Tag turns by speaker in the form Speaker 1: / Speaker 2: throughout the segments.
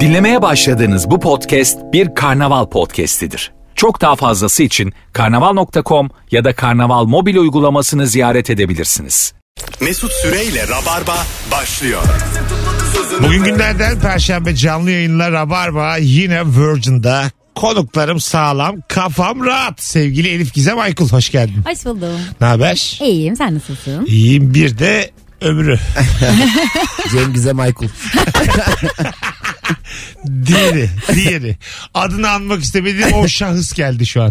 Speaker 1: Dinlemeye başladığınız bu podcast bir karnaval podcastidir. Çok daha fazlası için karnaval.com ya da karnaval mobil uygulamasını ziyaret edebilirsiniz.
Speaker 2: Mesut Süreyle Rabarba başlıyor.
Speaker 3: Bugün günlerden Perşembe canlı yayınla Rabarba yine Virgin'da. Konuklarım sağlam, kafam rahat. Sevgili Elif Gizem Aykul hoş geldin.
Speaker 4: Hoş buldum.
Speaker 3: Ne haber?
Speaker 4: İyiyim sen nasılsın?
Speaker 3: İyiyim bir de ömrü.
Speaker 5: Cem Gizem Aykul.
Speaker 3: Diğeri, diğeri. Adını anmak istemediğim o şahıs geldi şu an.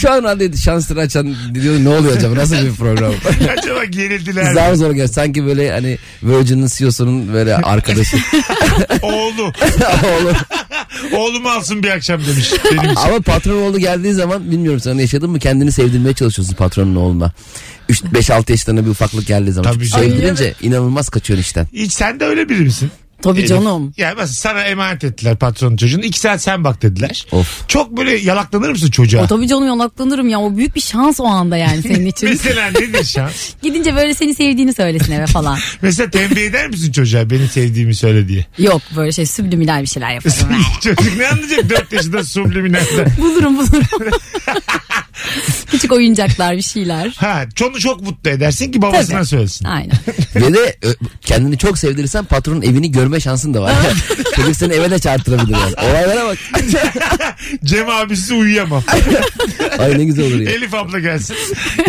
Speaker 5: Şu an radyoyu şansları açan diyorum ne oluyor acaba nasıl bir program?
Speaker 3: Acaba gerildiler mi?
Speaker 5: Zar zor gel. Sanki böyle hani Virgin'in CEO'sunun böyle arkadaşı.
Speaker 3: Oğlu.
Speaker 5: Oğlum.
Speaker 3: Oğlum alsın bir akşam demiş. Benim için.
Speaker 5: Ama patron oğlu geldiği zaman bilmiyorum sana yaşadın mı kendini sevdirmeye çalışıyorsun patronun oğluna. 5-6 yaşlarına bir ufaklık geldiği zaman.
Speaker 3: Tabii
Speaker 5: Çünkü
Speaker 3: canım.
Speaker 5: sevdirince inanılmaz kaçıyorsun işten.
Speaker 3: Hiç sen de öyle biri misin?
Speaker 4: Tabii
Speaker 3: Elif?
Speaker 4: E, canım.
Speaker 3: Yani mesela sana emanet ettiler patronun çocuğunu. İki saat sen bak dediler.
Speaker 5: Of.
Speaker 3: Çok böyle yalaklanır mısın
Speaker 5: Ah.
Speaker 3: çocuğa?
Speaker 4: O tabii canım yalaklanırım ya. O büyük bir şans o anda yani senin için.
Speaker 3: Mesela nedir şans?
Speaker 4: Gidince böyle seni sevdiğini söylesin eve falan.
Speaker 3: Mesela tembih eder misin çocuğa beni sevdiğimi söyle diye?
Speaker 4: Yok böyle şey sübliminal bir şeyler yaparım.
Speaker 3: Çocuk ne anlayacak 4 yaşında subliminalde?
Speaker 4: bulurum bulurum. Küçük oyuncaklar bir şeyler.
Speaker 3: Ha, onu çok mutlu edersin ki babasına
Speaker 4: Tabii.
Speaker 3: söylesin.
Speaker 4: Aynen.
Speaker 5: Ve de ö, kendini çok sevdirirsen patronun evini görme şansın da var. Çocuk seni eve de çağırtırabilir. Yani. Olaylara bak.
Speaker 3: Cem abisi uyuyamam.
Speaker 5: Ay ne güzel olur ya.
Speaker 3: Elif abla gelsin.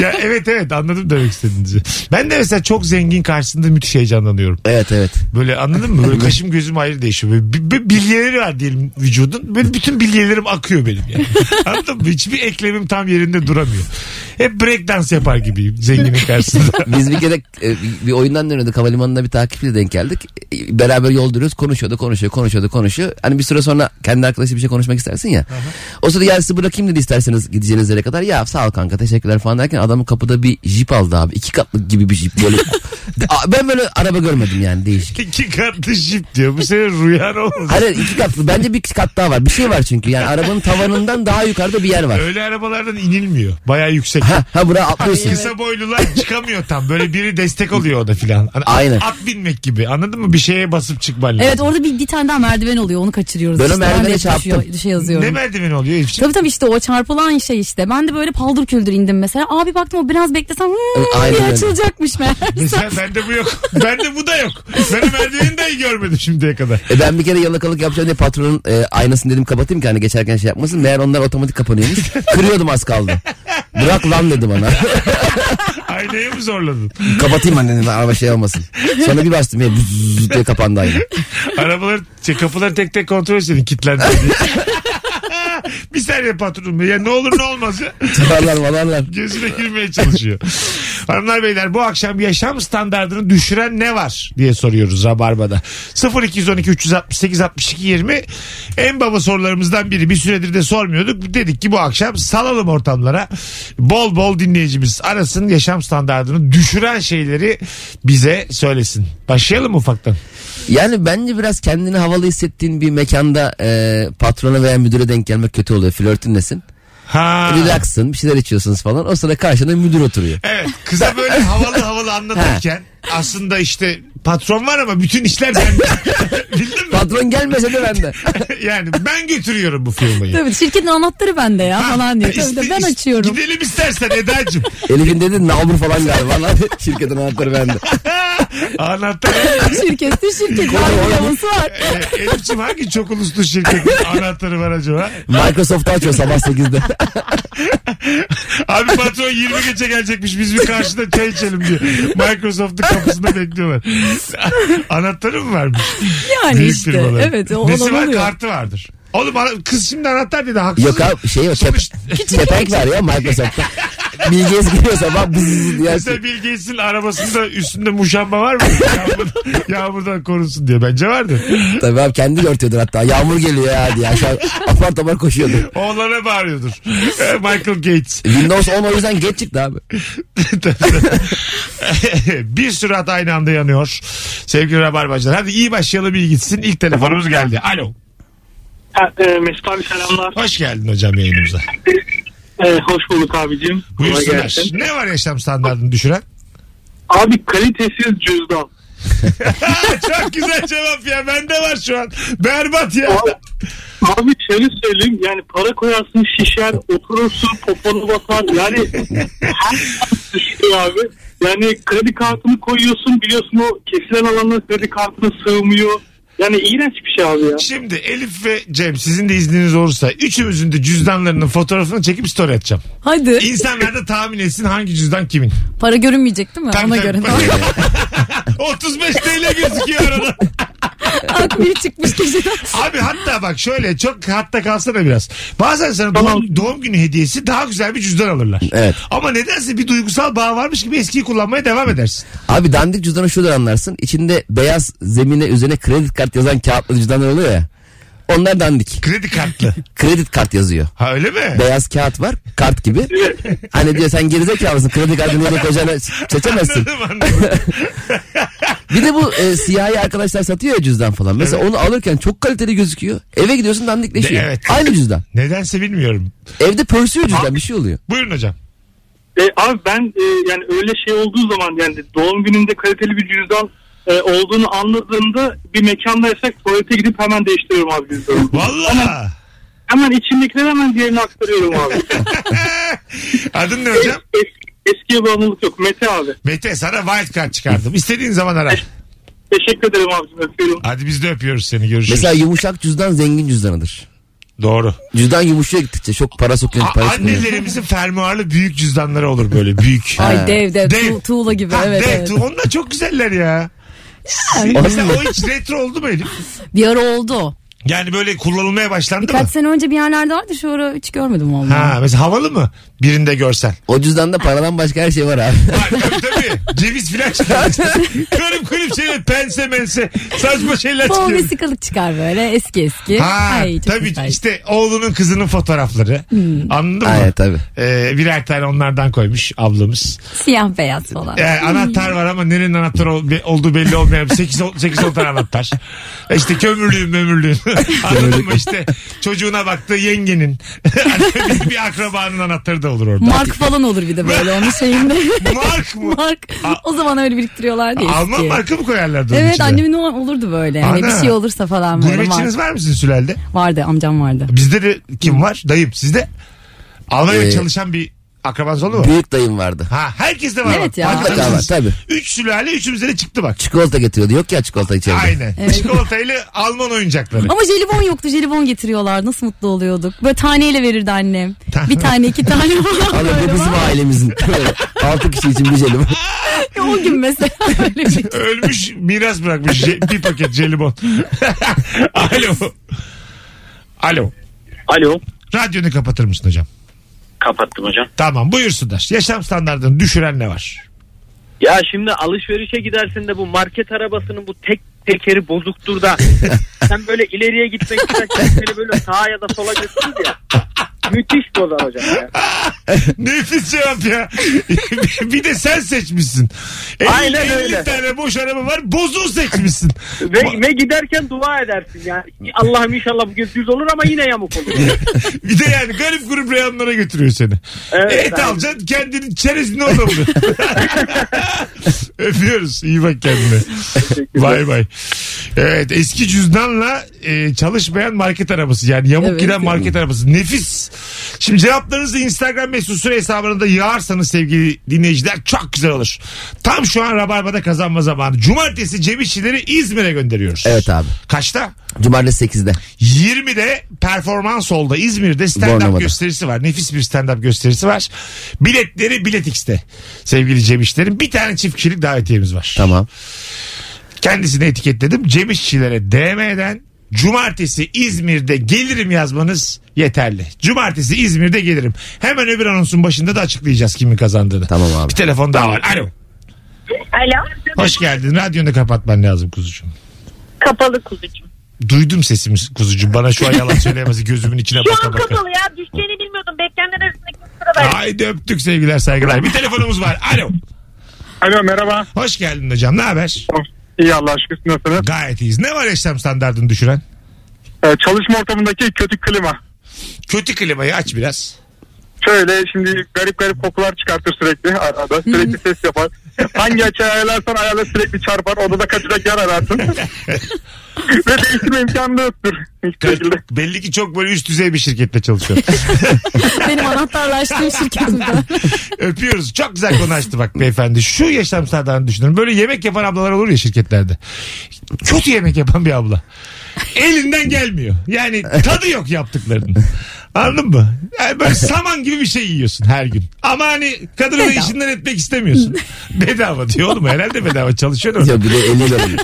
Speaker 3: Ya evet evet anladım demek istediğinizi. Ben de mesela çok zengin karşısında müthiş heyecanlanıyorum.
Speaker 5: Evet evet.
Speaker 3: Böyle anladın mı? Böyle kaşım gözüm ayrı değişiyor. Böyle bir, bir bilyeleri var diyelim vücudun. Böyle bütün bilyelerim akıyor benim yani. Anladın mı? Hiçbir eklemim tam yerinde duramıyor. Hep breakdance yapar gibiyim zenginin karşısında.
Speaker 5: Biz bir kere e, bir oyundan dönüyorduk havalimanında bir takipçiyle denk geldik. E, Beraber yol duruyoruz konuşuyordu konuşuyor konuşuyordu konuşuyor. Hani bir süre sonra kendi arkadaşı bir şey konuşmak istersin ya. O sırada ya sizi bırakayım dedi isterseniz gideceğiniz yere kadar. Ya sağ ol kanka teşekkürler falan derken adamın kapıda bir jip aldı abi. iki katlı gibi bir jip böyle. A, ben böyle araba görmedim yani değişik.
Speaker 3: İki katlı jip diyor. Bu senin rüyan olmaz.
Speaker 5: Hayır iki katlı bence bir kat daha var. Bir şey var çünkü yani arabanın tavanından daha yukarıda bir yer var.
Speaker 3: Öyle arabalardan inilmiyor. Baya yüksek.
Speaker 5: Ha, ha buraya
Speaker 3: Hani
Speaker 5: atlıyorsun.
Speaker 3: kısa boylular çıkamıyor tam. Böyle biri destek oluyor o da filan. Hani at-
Speaker 5: Aynen.
Speaker 3: At, binmek gibi. Anladın mı? Bir şeye basıp çıkman lazım.
Speaker 4: Evet orada bir, bir tane daha merdiven oluyor onu kaçırıyoruz.
Speaker 5: Ben o
Speaker 4: işte.
Speaker 5: merdivene
Speaker 4: de
Speaker 5: çarptım.
Speaker 4: düşüyor- düşe yazıyorum.
Speaker 3: Ne merdiveni oluyor şey- Elif'ciğim?
Speaker 4: Tabii tabii işte o çarpılan şey işte. Ben de böyle paldır küldür indim mesela. Abi baktım o biraz beklesem hmm,
Speaker 5: Aynen
Speaker 4: diye
Speaker 5: öyle.
Speaker 4: açılacakmış meğerse.
Speaker 3: Mesela bende bu yok. bende bu da yok. Ben o merdiveni dahi görmedim şimdiye kadar.
Speaker 5: E ben bir kere yalakalık yapacağım diye patronun e, aynasını dedim kapatayım ki hani geçerken şey yapmasın. Meğer onlar otomatik kapanıyormuş. Kırıyordum az kaldı. Bırak lan dedi bana.
Speaker 3: Aynayı mı zorladın?
Speaker 5: kapatayım ben dedim araba şey olmasın. Sonra bir bastım ya bzzz diye kapandı ayna.
Speaker 3: Arabaları, şey, kapıları tek tek kontrol etsin. Kilitlendi diye. bir saniye patronum. Ya ne olur ne olmaz ya.
Speaker 5: Çıkarlar malarlar.
Speaker 3: Gözüne girmeye çalışıyor. Hanımlar beyler bu akşam yaşam standartını düşüren ne var diye soruyoruz Rabarba'da. 0212 368 62 20 en baba sorularımızdan biri. Bir süredir de sormuyorduk. Dedik ki bu akşam salalım ortamlara. Bol bol dinleyicimiz arasın yaşam standartını düşüren şeyleri bize söylesin. Başlayalım mı ufaktan.
Speaker 5: Yani bence biraz kendini havalı hissettiğin bir mekanda e, patrona veya müdüre denk gelmek kötü oluyor. Flörtünlesin.
Speaker 3: Ha.
Speaker 5: Relaxsın bir şeyler içiyorsunuz falan. O sırada karşında müdür oturuyor.
Speaker 3: Evet kıza böyle havalı havalı anlatırken aslında işte patron var ama bütün işler bende. Bildin mi?
Speaker 5: Patron gelmese de ben de.
Speaker 3: yani ben götürüyorum bu firmayı.
Speaker 4: Tabii şirketin anahtarı bende ya falan diyor. Tabii
Speaker 3: İste-
Speaker 4: tabii, ben
Speaker 3: is-
Speaker 4: açıyorum.
Speaker 3: Gidelim istersen Eda'cığım.
Speaker 5: Elif'in dedi nalbur falan galiba. Lan şirketin anahtarı bende.
Speaker 3: Anahtar.
Speaker 4: şirkette şirket harcaması var.
Speaker 3: E, Elif'ciğim hangi çok uluslu şirketin anahtarı var acaba?
Speaker 5: Microsoft'u açıyor sabah 8'de.
Speaker 3: Abi patron 20 gece gelecekmiş biz bir karşıda çay içelim diye. Microsoft'un kapısında bekliyorlar. Anahtarı mı varmış?
Speaker 4: Yani
Speaker 3: Büyük
Speaker 4: işte.
Speaker 3: firmaların.
Speaker 4: Evet o
Speaker 3: Nesi
Speaker 4: olan
Speaker 3: var
Speaker 4: oluyor.
Speaker 3: kartı vardır. Oğlum ana- kız şimdi anahtar dedi haksız.
Speaker 5: Yok abi şey yok.
Speaker 3: Sonuçta-
Speaker 5: Kep- kepenk var ya Microsoft'ta. Bilgeyiz giriyor sabah bzzz diye.
Speaker 3: Mesela Bill Gates'in arabasında üstünde muşamba var mı? Yağmur, yağmurdan korunsun diye. Bence vardı.
Speaker 5: Tabii abi kendi örtüyordur hatta. Yağmur geliyor ya diye. Aşağı apar topar koşuyordu.
Speaker 3: Oğlana bağırıyordur. Ee, Michael Gates.
Speaker 5: Windows 10 o yüzden geç çıktı abi.
Speaker 3: bir sürü hat aynı anda yanıyor. Sevgili Rabarbacılar. Hadi iyi başlayalım iyi gitsin. İlk telefonumuz geldi. Alo.
Speaker 6: Ha, e, Mesut abi selamlar.
Speaker 3: Hoş geldin hocam yayınımıza.
Speaker 6: E, hoş bulduk abicim. Kolay
Speaker 3: Buyursunlar.
Speaker 6: gelsin.
Speaker 3: Ne var yaşam standartını düşüren?
Speaker 6: Abi kalitesiz cüzdan.
Speaker 3: Çok güzel cevap ya. Bende var şu an. Berbat ya.
Speaker 6: Abi şöyle söyleyeyim yani para koyarsın şişer oturursun poponu batar yani her şey düşüyor abi. Yani kredi kartını koyuyorsun biliyorsun o kesilen alanlar kredi kartına sığmıyor. Yani iğrenç bir şey abi ya.
Speaker 3: Şimdi Elif ve Cem sizin de izniniz olursa üçümüzün de cüzdanlarının fotoğrafını çekip story atacağım.
Speaker 4: Hadi.
Speaker 3: İnsanlar da tahmin etsin hangi cüzdan kimin.
Speaker 4: Para görünmeyecek değil mi?
Speaker 3: Tabii,
Speaker 4: Ona
Speaker 3: tabii.
Speaker 4: göre.
Speaker 3: 35 TL gözüküyor arada.
Speaker 4: Akbil çıkmış geceden.
Speaker 3: Abi hatta bak şöyle çok hatta kalsana biraz. Bazen sana
Speaker 6: Tamam.
Speaker 3: doğum, doğum günü hediyesi daha güzel bir cüzdan alırlar.
Speaker 5: Evet.
Speaker 3: Ama nedense bir duygusal bağ varmış gibi eskiyi kullanmaya devam edersin.
Speaker 5: Abi dandik cüzdanı şuradan anlarsın. İçinde beyaz zemine üzerine kredi kart yazan kağıtlı cüzdanlar oluyor ya. Onlar dandik.
Speaker 3: Kredi kartlı.
Speaker 5: Kredi kart yazıyor.
Speaker 3: Ha öyle mi?
Speaker 5: Beyaz kağıt var kart gibi. Hani diyor sen gerizekalısın kredi kartını nereye koyacağını seçemezsin.
Speaker 3: Anladım anladım.
Speaker 5: Bir de bu e, siyahi arkadaşlar satıyor ya cüzdan falan. Mesela onu alırken çok kaliteli gözüküyor. Eve gidiyorsun dandikleşiyor.
Speaker 3: De- evet.
Speaker 5: Aynı cüzdan.
Speaker 3: Nedense bilmiyorum.
Speaker 5: Evde pörsüyor cüzdan bir şey oluyor.
Speaker 3: Buyurun hocam.
Speaker 6: E, abi ben e, yani öyle şey olduğu zaman yani doğum gününde kaliteli bir cüzdan e, olduğunu anladığımda bir mekandaysak tuvalete gidip hemen değiştiriyorum abi cüzdanı.
Speaker 3: Valla.
Speaker 6: Hemen içimdekileri hemen diğerine aktarıyorum abi.
Speaker 3: Adın ne hocam?
Speaker 6: Eski, eskiye bağımlılık yok. Mete abi.
Speaker 3: Mete sana wild card çıkardım. İstediğin zaman ara.
Speaker 6: Teşekkür ederim abicim. Öpüyorum.
Speaker 3: Hadi biz de öpüyoruz seni. Görüşürüz.
Speaker 5: Mesela yumuşak cüzdan zengin cüzdanıdır.
Speaker 3: Doğru.
Speaker 5: Cüzdan yumuşaya gittikçe çok para sokuyor.
Speaker 3: A-
Speaker 5: para sokuyor.
Speaker 3: annelerimizin fermuarlı büyük cüzdanları olur böyle büyük.
Speaker 4: Ay dev dev,
Speaker 3: Dev.
Speaker 4: tu- tuğla gibi
Speaker 3: Ha,
Speaker 4: evet
Speaker 3: dev,
Speaker 4: evet.
Speaker 3: tu- Onlar çok güzeller ya. Mesela o hiç retro oldu mu Elif?
Speaker 4: Bir ara oldu o.
Speaker 3: Yani böyle kullanılmaya başlandı
Speaker 4: Birkaç
Speaker 3: mı?
Speaker 4: sene önce bir yerlerde vardı şu ara hiç görmedim vallahi.
Speaker 3: Ha mesela havalı mı? Birinde görsen.
Speaker 5: O cüzdanda paradan başka her şey var abi.
Speaker 3: Var tabii tabii. Ceviz filan çıkıyor. Kırım kırım şeyler şey pense mense. Saçma şeyler
Speaker 4: Bol
Speaker 3: çıkıyor.
Speaker 4: vesikalık çıkar böyle eski eski.
Speaker 3: Ha
Speaker 4: Ay, çok
Speaker 3: tabii
Speaker 4: güzel. Hmm.
Speaker 3: işte oğlunun kızının fotoğrafları. Anladın mı?
Speaker 5: Aynen tabii.
Speaker 3: Ee, birer tane onlardan koymuş ablamız.
Speaker 4: Siyah beyaz falan.
Speaker 3: Ee, anahtar var ama nerenin anahtar ol- be- olduğu belli olmayan 8 8 10 tane anahtar. E İşte kömürlüğün mömürlüğün. Anladın mı işte çocuğuna baktı yengenin. bir, bir akrabanın anahtarı da olur orada.
Speaker 4: Mark falan olur bir de böyle onun şeyinde.
Speaker 3: Mark mı?
Speaker 4: Mark. O zaman öyle biriktiriyorlar diye.
Speaker 3: Alman marka mı koyarlardı onun
Speaker 4: Evet
Speaker 3: içine?
Speaker 4: annemin o olurdu böyle. Hani
Speaker 3: Ana.
Speaker 4: bir şey olursa falan böyle.
Speaker 3: Gurbetçiniz
Speaker 4: Mark.
Speaker 3: var mı sizin sülalde?
Speaker 4: Vardı amcam vardı.
Speaker 3: Bizde de
Speaker 4: Hmm.
Speaker 3: kim var? Dayım sizde? Almanya'da
Speaker 5: Ee,
Speaker 3: çalışan bir akrabanız oldu mu?
Speaker 5: Büyük dayım vardı.
Speaker 3: Ha herkes de var.
Speaker 4: Evet
Speaker 3: bak.
Speaker 4: ya.
Speaker 3: Fark
Speaker 5: Mutlaka var
Speaker 3: ettiniz.
Speaker 5: tabii.
Speaker 3: Üç sülale üçümüzde de çıktı bak.
Speaker 5: Çikolata getiriyordu. Yok ya çikolata içeride.
Speaker 3: Aynen. Çikolatayla Alman oyuncakları.
Speaker 4: Ama jelibon yoktu jelibon getiriyorlar nasıl mutlu oluyorduk. Böyle taneyle verirdi annem.
Speaker 3: Ta-
Speaker 4: bir tane iki tane falan
Speaker 5: Abi
Speaker 4: böyle
Speaker 5: bu bizim
Speaker 4: var.
Speaker 5: ailemizin. Altı kişi için bir jelim.
Speaker 4: O gün mesela böyle bir.
Speaker 3: Ölmüş miras bırakmış je- bir paket jelibon. Alo. Alo.
Speaker 6: Alo.
Speaker 3: Radyonu kapatır mısın hocam?
Speaker 6: Kapattım hocam.
Speaker 3: Tamam buyursunlar. Yaşam standartını düşüren ne var?
Speaker 6: Ya şimdi alışverişe gidersin de bu market arabasının bu tek tekeri bozuktur da sen böyle ileriye gitmek isterken seni böyle sağa ya da sola götürür ya. Müthiş bozar hocam ya.
Speaker 3: Nefis cevap ya. bir de sen seçmişsin.
Speaker 6: Aynen öyle.
Speaker 3: tane boş araba var bozuğu seçmişsin.
Speaker 6: Ve, ve giderken dua edersin ya. Allah'ım inşallah bu göz düz olur ama yine yamuk olur.
Speaker 3: bir de yani garip grup reyonlara götürüyor seni.
Speaker 6: Evet,
Speaker 3: Et
Speaker 6: aynen.
Speaker 3: alacaksın kendini çerezini orada buluyor. Öpüyoruz. İyi bak kendine. Bay bay. Evet eski cüzdanla e, çalışmayan market arabası yani yamuk
Speaker 4: Evet.
Speaker 3: giden market arabası. Nefis. Şimdi cevaplarınızı Instagram mesut süre hesabına da yağarsanız sevgili dinleyiciler çok güzel olur. Tam şu an Rabarba'da kazanma zamanı. Cumartesi Cem İşçileri İzmir'e gönderiyoruz.
Speaker 5: Evet abi.
Speaker 3: Kaçta?
Speaker 5: Cumartesi 8'de.
Speaker 3: 20'de Performans Hall'da İzmir'de stand-up
Speaker 5: Bornova'da.
Speaker 3: gösterisi var. Nefis bir stand-up gösterisi var. Biletleri Biletix'te sevgili Cem İşçilerin. Bir tane çift kişilik davetiyemiz var.
Speaker 5: Tamam.
Speaker 3: Kendisini etiketledim. Cem İşçilere DM'den Cumartesi İzmir'de gelirim yazmanız yeterli. Cumartesi İzmir'de gelirim. Hemen öbür anonsun başında da açıklayacağız kimin kazandığını.
Speaker 5: Tamam abi.
Speaker 3: Bir telefon daha var. Alo.
Speaker 7: Alo.
Speaker 3: Hoş geldin. Radyonu kapatman lazım kuzucuğum.
Speaker 7: Kapalı kuzucuğum.
Speaker 3: Duydum sesimiz kuzucuğum. Bana şu an yalan söyleyemezsin. Gözümün içine
Speaker 7: Şu
Speaker 3: baka
Speaker 7: an
Speaker 3: baka.
Speaker 7: kapalı ya. Düşeceğini bilmiyordum. Beklenenler arasındaki sıra
Speaker 3: Haydi öptük sevgiler saygılar. Bir telefonumuz var. Alo.
Speaker 6: Alo merhaba.
Speaker 3: Hoş geldin hocam. Ne haber?
Speaker 6: İyi Allah aşkına siz nasılsınız?
Speaker 3: Gayet iyiyiz. Ne var yaşam standartını düşüren?
Speaker 6: Ee, çalışma ortamındaki kötü klima.
Speaker 3: Kötü klimayı aç biraz.
Speaker 6: Şöyle şimdi garip garip kokular çıkartır sürekli arada. Sürekli ses yapar. Hangi açıya ayarlarsan ayarla sürekli çarpar. Odada kaçacak yer ararsın. Ve değiştirme imkanı da yoktur. Hiçbir şekilde.
Speaker 3: Belli ki çok böyle üst düzey bir şirkette çalışıyor.
Speaker 4: Benim anahtarlaştığım şirketimde.
Speaker 3: Öpüyoruz. Çok güzel konu açtı bak beyefendi. Şu yaşam standartını düşünün. Böyle yemek yapan ablalar olur ya şirketlerde. Kötü yemek yapan bir abla. Elinden gelmiyor. Yani tadı yok yaptıklarının. Anladın mı? Yani böyle saman gibi bir şey yiyorsun her gün. Ama hani kadını da işinden etmek istemiyorsun. Bedava diyor oğlum. Herhalde bedava çalışıyor. orada.
Speaker 5: Ya bir de 50 lira alıyor.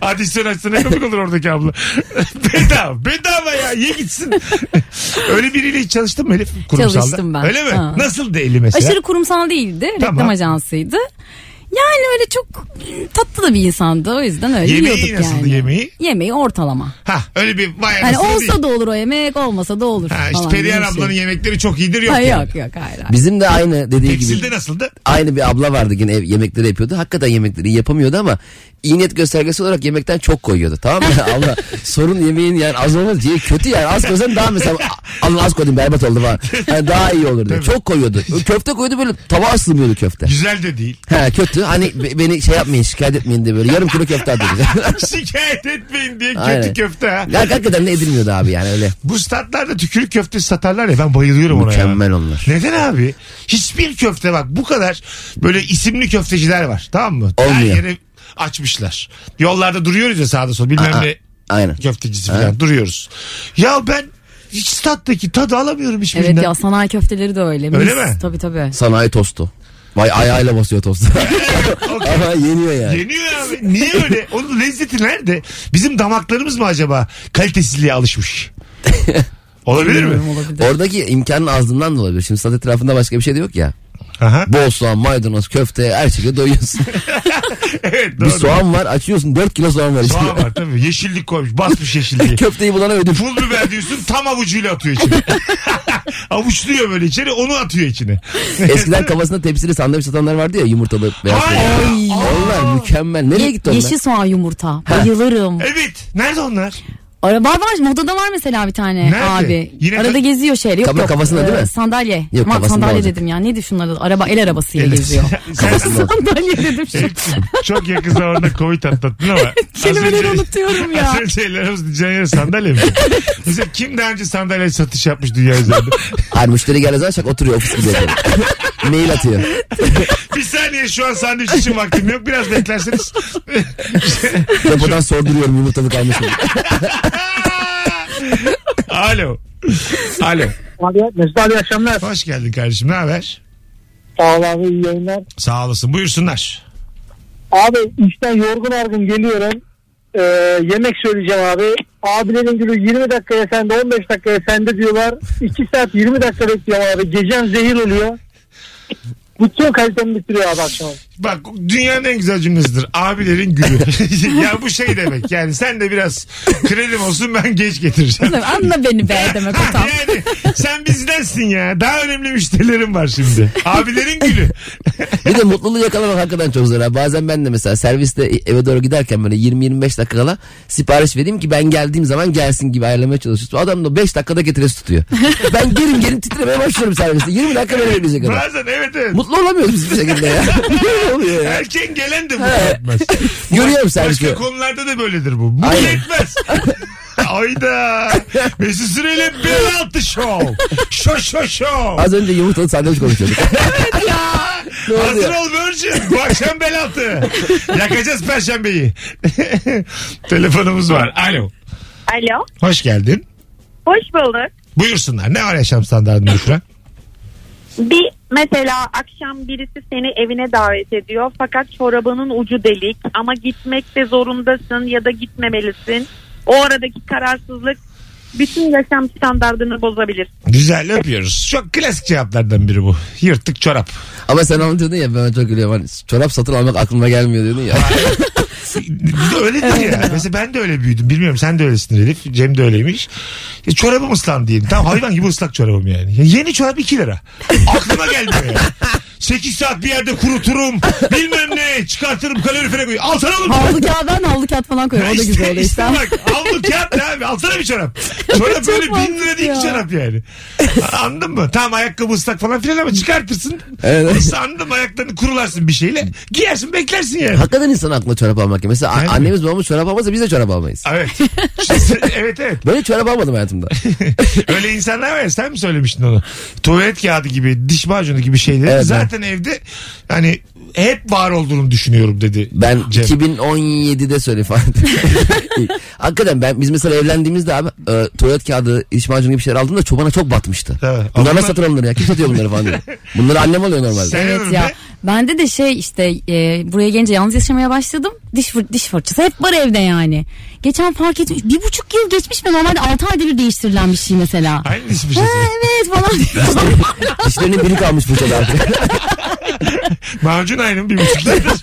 Speaker 3: Adisyon açsa ne komik olur oradaki abla. bedava. Bedava ya. Ye gitsin. Öyle biriyle hiç çalıştın mı Elif? Kurumsalda.
Speaker 4: Çalıştım ben.
Speaker 3: Öyle mi?
Speaker 4: Ha.
Speaker 3: Nasıldı eli mesela?
Speaker 4: Aşırı kurumsal değildi.
Speaker 3: Tamam.
Speaker 4: Reklam ajansıydı. Yani öyle çok tatlı da bir insandı. O yüzden öyle
Speaker 3: Yemeği
Speaker 4: yiyorduk
Speaker 3: nasıldı,
Speaker 4: yani.
Speaker 3: yemeği?
Speaker 4: Yemeği ortalama.
Speaker 3: Ha öyle bir vay
Speaker 4: Hani
Speaker 3: anasını değil.
Speaker 4: olsa da olur o yemek olmasa da olur.
Speaker 3: Ha, işte
Speaker 4: falan
Speaker 3: Perihan
Speaker 4: gibi bir şey.
Speaker 3: ablanın yemekleri çok iyidir yok.
Speaker 4: Ha,
Speaker 3: yani.
Speaker 4: yok yok hayır. hayır.
Speaker 5: Bizim de aynı dediği gibi.
Speaker 3: Tekstilde nasıldı?
Speaker 5: Aynı bir abla vardı yine ev, yemekleri yapıyordu. Hakikaten yemekleri iyi yapamıyordu ama iyi niyet göstergesi olarak yemekten çok koyuyordu. Tamam mı? abla sorun yemeğin yani az olmaz diye kötü yani. Az koysan daha mesela "A- alın az koydum berbat oldu falan. Yani daha iyi olur diye. Çok koyuyordu. Köfte koydu böyle tabağa sığmıyordu köfte.
Speaker 3: Güzel de değil.
Speaker 5: He kötü hani be- beni şey yapmayın şikayet etmeyin diye böyle yarım kilo köfte atıyordu.
Speaker 3: Şikayet etmeyin diye kötü
Speaker 5: Aynen.
Speaker 3: köfte ha.
Speaker 5: ya hakikaten de edilmiyordu abi yani öyle.
Speaker 3: Bu statlarda tükürük köftesi satarlar ya ben bayılıyorum ona ya.
Speaker 5: Mükemmel onlar.
Speaker 3: Neden abi? Hiçbir köfte bak bu kadar böyle isimli köfteciler var tamam mı? Her
Speaker 5: Olmuyor.
Speaker 3: yere açmışlar. Yollarda duruyoruz ya sağda solda bilmem
Speaker 5: Aa,
Speaker 3: ne
Speaker 5: aynen.
Speaker 3: köftecisi falan duruyoruz. Ya ben hiç stat'taki tadı alamıyorum hiçbirinden.
Speaker 4: Evet ya sanayi köfteleri de öyle.
Speaker 3: Öyle
Speaker 4: Mis.
Speaker 3: mi?
Speaker 4: Tabii tabii.
Speaker 5: Sanayi tostu. Vay ayağıyla basıyor tostu.
Speaker 3: Okey.
Speaker 5: Ama yeniyor yani.
Speaker 3: Yeniyor abi. Niye öyle? Onun lezzeti nerede? Bizim damaklarımız mı acaba kalitesizliğe alışmış? Olabilir mi?
Speaker 4: Bilmiyorum, olabilir.
Speaker 5: Oradaki imkanın azlığından da olabilir. Şimdi sat etrafında başka bir şey de yok ya.
Speaker 3: Aha.
Speaker 5: Bol soğan, maydanoz, köfte her şeye doyuyorsun.
Speaker 3: Evet
Speaker 5: bir
Speaker 3: doğru.
Speaker 5: soğan var açıyorsun 4 kilo soğan var
Speaker 3: Soğan
Speaker 5: içinde.
Speaker 3: var tabii. Yeşillik koymuş. Basmış yeşilliği.
Speaker 5: Köfteyi bulana ödül.
Speaker 3: Pul biber diyorsun tam avucuyla atıyor içine. Avuçluyor böyle içeri onu atıyor içine.
Speaker 5: Eskiden kafasında tepsili sandviç satanlar vardı ya yumurtalı beyaz.
Speaker 3: Ay,
Speaker 5: peynir.
Speaker 3: ay.
Speaker 5: Onlar mükemmel. Nereye gitti onlar?
Speaker 4: Yeşil soğan yumurta. Bayılırım.
Speaker 3: Evet. Nerede onlar?
Speaker 4: Ara var var modada var mesela bir tane
Speaker 3: Nerede?
Speaker 4: abi.
Speaker 3: Yine
Speaker 4: Arada
Speaker 3: ka-
Speaker 4: geziyor şehir. Yok,
Speaker 5: Kamera
Speaker 4: yok.
Speaker 5: kafasında değil mi?
Speaker 4: Sandalye.
Speaker 5: Yok,
Speaker 4: Aman
Speaker 5: kafasında
Speaker 4: sandalye
Speaker 5: olacak.
Speaker 4: dedim ya. Ne düşün arada? Araba el arabasıyla
Speaker 3: Evet.
Speaker 4: geziyor.
Speaker 3: Sen-
Speaker 4: Kafası sandalye dedim şu. an.
Speaker 3: Çok yakın zamanda Covid atlattın ama.
Speaker 4: Kelimeleri
Speaker 3: az önce-
Speaker 4: unutuyorum ya.
Speaker 3: Az önce ellerimiz diyeceğin yere sandalye mi? Mesela kim daha önce sandalye satış yapmış dünya üzerinde?
Speaker 5: Her müşteri geldiği zaman şak oturuyor ofis gibi. yapıyor. Mail atıyor.
Speaker 3: Bir saniye şu an sandviç için vaktim yok. Biraz beklerseniz.
Speaker 5: Depodan sorduruyorum yumurtalı kalmış mı?
Speaker 3: Alo. Alo.
Speaker 6: Abi, Mesut abi iyi akşamlar.
Speaker 3: Hoş geldin kardeşim. Ne haber?
Speaker 6: Sağ ol abi iyi yayınlar.
Speaker 3: Sağ olasın. Buyursunlar.
Speaker 6: Abi işten yorgun argın geliyorum. Ee, yemek söyleyeceğim abi. Abilerin günü 20 dakikaya sende 15 dakikaya sende diyorlar. 2 saat 20 dakika bekliyorum abi. Gecem zehir oluyor. Bütün kalitemi bitiriyor abi akşam.
Speaker 3: Bak dünyanın en güzel cümlesidir. Abilerin gülü. ya bu şey demek. Yani sen de biraz kredim olsun ben geç getireceğim.
Speaker 4: Anla beni be demek o tam.
Speaker 3: yani sen bizdensin ya. Daha önemli müşterilerim var şimdi. Abilerin gülü.
Speaker 5: Bir de mutluluğu yakalamak hakikaten çok zor. ha. Bazen ben de mesela serviste eve doğru giderken böyle 20-25 dakika kala sipariş vereyim ki ben geldiğim zaman gelsin gibi ayarlamaya çalışıyorsun. Adam da 5 dakikada getiresi tutuyor. ben gerim gerim titremeye başlıyorum serviste. 20 dakika böyle bekleyecek adam.
Speaker 3: Bazen evet evet.
Speaker 5: Mutlu olamıyoruz biz bir şekilde ya. Ne oluyor ya?
Speaker 3: Erken gelen de mutlu etmez.
Speaker 5: Görüyorum serviste.
Speaker 3: Başka konularda da böyledir bu. Mutlu
Speaker 5: Aynen.
Speaker 3: etmez. Ayda. Mesut Süreyle bir altı şov. Şo şo şov.
Speaker 5: Az önce yumurtalı sandviç konuşuyorduk. Ne oldu
Speaker 3: Hazır
Speaker 5: ya?
Speaker 3: ol Virgin. Bu akşam bel altı. Yakacağız perşembeyi. Telefonumuz var. Alo.
Speaker 7: Alo.
Speaker 3: Hoş geldin.
Speaker 7: Hoş bulduk.
Speaker 3: Buyursunlar. Ne var yaşam standartında Şura?
Speaker 7: Bir mesela akşam birisi seni evine davet ediyor fakat çorabının ucu delik ama gitmek de zorundasın ya da gitmemelisin. O aradaki kararsızlık bütün yaşam standartını bozabilir.
Speaker 3: Güzel öpüyoruz. Çok klasik cevaplardan biri bu. Yırtık çorap.
Speaker 5: Ama sen anlatıyordun ya ben çok gülüyorum. Hani çorap satın almak aklıma gelmiyor diyordun ya.
Speaker 3: Bir de öyledir ya. Mesela ben de öyle büyüdüm. Bilmiyorum sen de öylesin Elif. Cem de öyleymiş. E, çorabım ıslandı diyelim. Tamam hayvan gibi ıslak çorabım yani. Ya yeni çorap 2 lira. Aklıma gelmiyor yani. 8 saat bir yerde kuruturum. bilmem ne. Çıkartırım kalorifere koyayım. Alsana oğlum.
Speaker 4: Havlu kağıdan havlu kağıt falan koyuyor. O da
Speaker 3: İşte-
Speaker 4: güzel oluyor
Speaker 3: işte
Speaker 4: işte.
Speaker 3: bak aldı kağıt ne abi alsana bir çorap. Çorap
Speaker 4: Çok
Speaker 3: böyle bin lira
Speaker 4: mantıklı
Speaker 3: değil ki
Speaker 4: ya.
Speaker 3: çorap yani. Anladın mı? Tamam ayakkabı ıslak falan filan ama çıkartırsın.
Speaker 5: Evet.
Speaker 3: Neyse, Anladın mı? Ayaklarını kurularsın bir şeyle. Giyersin beklersin yani.
Speaker 5: Hakikaten insan aklına çorap almak. geliyor. Mesela a-
Speaker 3: Yani.
Speaker 5: annemiz babamız çorap almazsa biz de çorap almayız.
Speaker 3: Evet. İşte- evet evet.
Speaker 5: Ben hiç çorap almadım hayatımda.
Speaker 3: Öyle insanlar var ya sen mi söylemiştin onu? Tuvalet kağıdı gibi, diş macunu gibi şeyleri
Speaker 5: Evet,
Speaker 3: zaten evde hani hep var olduğunu düşünüyorum dedi.
Speaker 5: Ben
Speaker 3: Cem.
Speaker 5: 2017'de söyle falan. Hakikaten ben biz mesela evlendiğimizde abi e, tuvalet kağıdı, iç macunu gibi şeyler aldığımda çobana çok batmıştı.
Speaker 3: Evet.
Speaker 5: Bunlar
Speaker 3: Ama-
Speaker 5: nasıl satın alınır ya? Kim satıyor bunları falan diyor. Bunları annem alıyor normalde.
Speaker 3: Sen
Speaker 4: Evet
Speaker 3: ömründe-
Speaker 4: ya. Bende de şey işte e, buraya gelince yalnız yaşamaya başladım. Diş, fır- diş fırçası hep var evde yani. Geçen fark etmiş. Bir buçuk yıl geçmiş mi? Normalde altı ayda bir değiştirilen bir şey mesela.
Speaker 3: Aynı diş
Speaker 4: Ha,
Speaker 3: fırçası.
Speaker 4: evet falan.
Speaker 5: Dişlerinin biri kalmış fırçada artık.
Speaker 3: Macun aynı mı? Bir buçuk liradır.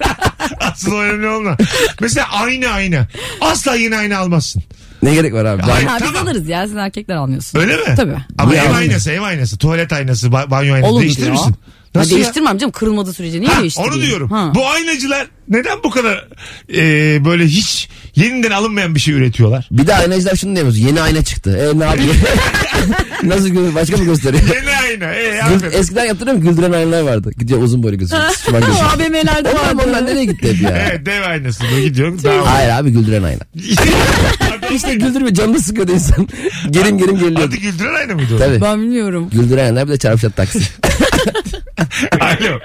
Speaker 3: Asıl önemli olma. Mesela aynı ayna. Asla yine ayna almazsın.
Speaker 5: ne gerek var abi? Ben-
Speaker 3: Ay,
Speaker 4: ya, biz
Speaker 3: tamam.
Speaker 4: alırız ya siz erkekler almıyorsunuz.
Speaker 3: Öyle mi?
Speaker 4: Tabii.
Speaker 3: Ama
Speaker 5: Niye
Speaker 3: ev
Speaker 5: aldın?
Speaker 3: aynası, ev aynası, tuvalet aynası, ba- banyo aynası
Speaker 4: Olur
Speaker 3: değiştirir
Speaker 4: ya.
Speaker 3: misin?
Speaker 4: Ha,
Speaker 3: Nasıl ya?
Speaker 4: değiştirmem canım kırılmadığı sürece niye
Speaker 3: Ha,
Speaker 4: değiştireyim?
Speaker 3: onu diyorum.
Speaker 4: Ha.
Speaker 3: Bu aynacılar neden bu kadar e, böyle hiç yeniden alınmayan bir şey üretiyorlar?
Speaker 5: Bir de aynacılar şunu demiyoruz. Yeni ayna çıktı. E ne yapıyor? Nasıl gö- başka mı gösteriyor?
Speaker 3: Yeni ayna. E,
Speaker 5: Gül-
Speaker 3: aferin.
Speaker 5: Eskiden yaptırıyorum güldüren aynalar vardı. Gidiyor uzun boylu gözüküyor. Şuman
Speaker 4: O
Speaker 5: gözüküyor.
Speaker 4: AVM'lerde
Speaker 5: Onlar,
Speaker 4: vardı.
Speaker 5: onlar nereye gitti hep ya?
Speaker 3: Evet dev aynası. Böyle gidiyorsun. Daha...
Speaker 5: Hayır abi güldüren ayna. İşte güldürme canını sıkıyordu insan. Gerim gerim geriliyordu.
Speaker 3: Adı güldüren ayna mıydı o?
Speaker 5: Tabii.
Speaker 4: Ben bilmiyorum.
Speaker 5: Güldüren aynalar bir de çarpışat taksi.
Speaker 3: Alo.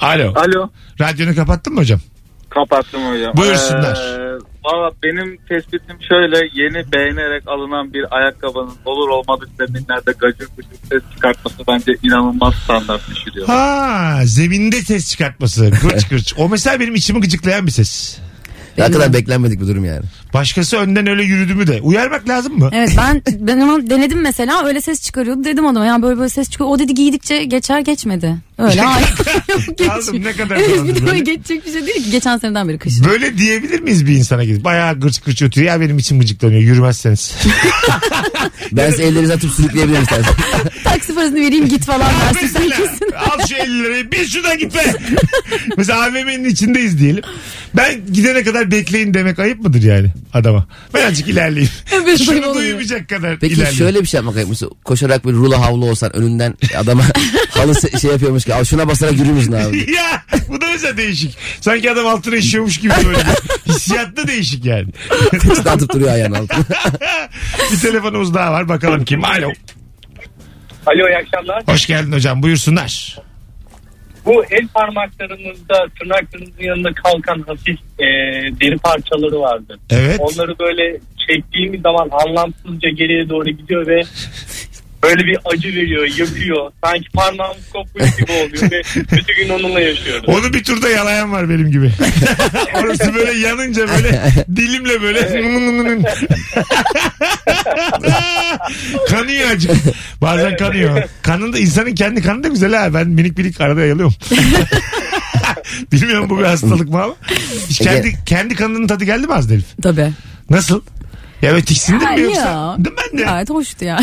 Speaker 3: Alo.
Speaker 8: Alo.
Speaker 3: Radyonu kapattın mı hocam?
Speaker 8: Kapattım hocam.
Speaker 3: Buyursunlar.
Speaker 8: Ee, valla benim tespitim şöyle yeni beğenerek alınan bir ayakkabının olur olmadık zeminlerde gacır gucur ses çıkartması bence inanılmaz standart şey düşürüyor.
Speaker 3: Ha zeminde ses çıkartması. Gırç gırç. O mesela benim içimi gıcıklayan bir ses.
Speaker 5: Ne kadar beklenmedik bir durum yani.
Speaker 3: Başkası önden öyle yürüdü mü de. Uyarmak lazım mı?
Speaker 4: Evet ben ben onu denedim mesela öyle ses çıkarıyordu dedim adama yani böyle böyle ses çıkıyor. O dedi giydikçe geçer geçmedi. Öyle hayır. Yok, geçmiyor.
Speaker 3: Aldım, ne kadar
Speaker 4: evet,
Speaker 3: zamandır
Speaker 4: bir de
Speaker 3: böyle?
Speaker 4: öyle geçecek bir şey değil ki. Geçen seneden beri kışın.
Speaker 3: Böyle diyebilir miyiz bir insana gidip? Bayağı gırç gırç ötüyor. Ya benim içim gıcıklanıyor. Yürümezseniz.
Speaker 5: Ben size ellerinizi atıp sürükleyebilirim istersen.
Speaker 4: Taksi parasını vereyim git falan dersin sen
Speaker 3: Mesela
Speaker 4: kesin.
Speaker 3: al şu 50 lirayı bir şuradan git be. Mesela AVM'nin içindeyiz diyelim. Ben gidene kadar bekleyin demek ayıp mıdır yani adama? Ben azıcık ilerleyeyim.
Speaker 4: Evet, ayıp
Speaker 3: Şunu
Speaker 4: oluyor.
Speaker 3: duymayacak kadar
Speaker 5: Peki
Speaker 3: ilerleyeyim.
Speaker 5: şöyle bir şey yapmak ayıp mısın? Koşarak bir rulo havlu olsan önünden adama halı se- şey yapıyormuş ki "Al şuna basarak yürür müsün abi?
Speaker 3: ya bu da mesela değişik. Sanki adam altına işiyormuş gibi böyle. bir Hissiyatlı değişik yani.
Speaker 5: İşte atıp duruyor ayağının altına.
Speaker 3: bir telefonumuz daha var bakalım kim. Alo.
Speaker 8: Alo iyi akşamlar.
Speaker 3: Hoş geldin hocam buyursunlar.
Speaker 8: Bu el parmaklarımızda tırnaklarımızın yanına kalkan hafif e, deri parçaları vardı.
Speaker 3: Evet.
Speaker 8: Onları böyle çektiğimiz zaman anlamsızca geriye doğru gidiyor ve böyle bir acı veriyor, yakıyor. Sanki parmağımız kopmuş gibi oluyor ve bütün gün onunla yaşıyoruz.
Speaker 3: Onu bir turda yalayan var benim gibi. Orası böyle yanınca böyle dilimle böyle kanıyor acık. Bazen kanıyor. Kanın da insanın kendi kanı da güzel ha. Ben minik minik arada yalıyorum. Bilmiyorum bu bir hastalık mı ama. Hiç kendi, kendi kanının tadı geldi mi az herif?
Speaker 4: Tabii.
Speaker 3: Nasıl? Ya böyle tiksindin mi
Speaker 4: Hayır
Speaker 3: yoksa?
Speaker 4: ya.
Speaker 3: Değil mi ben de.
Speaker 4: Gayet hoştu ya.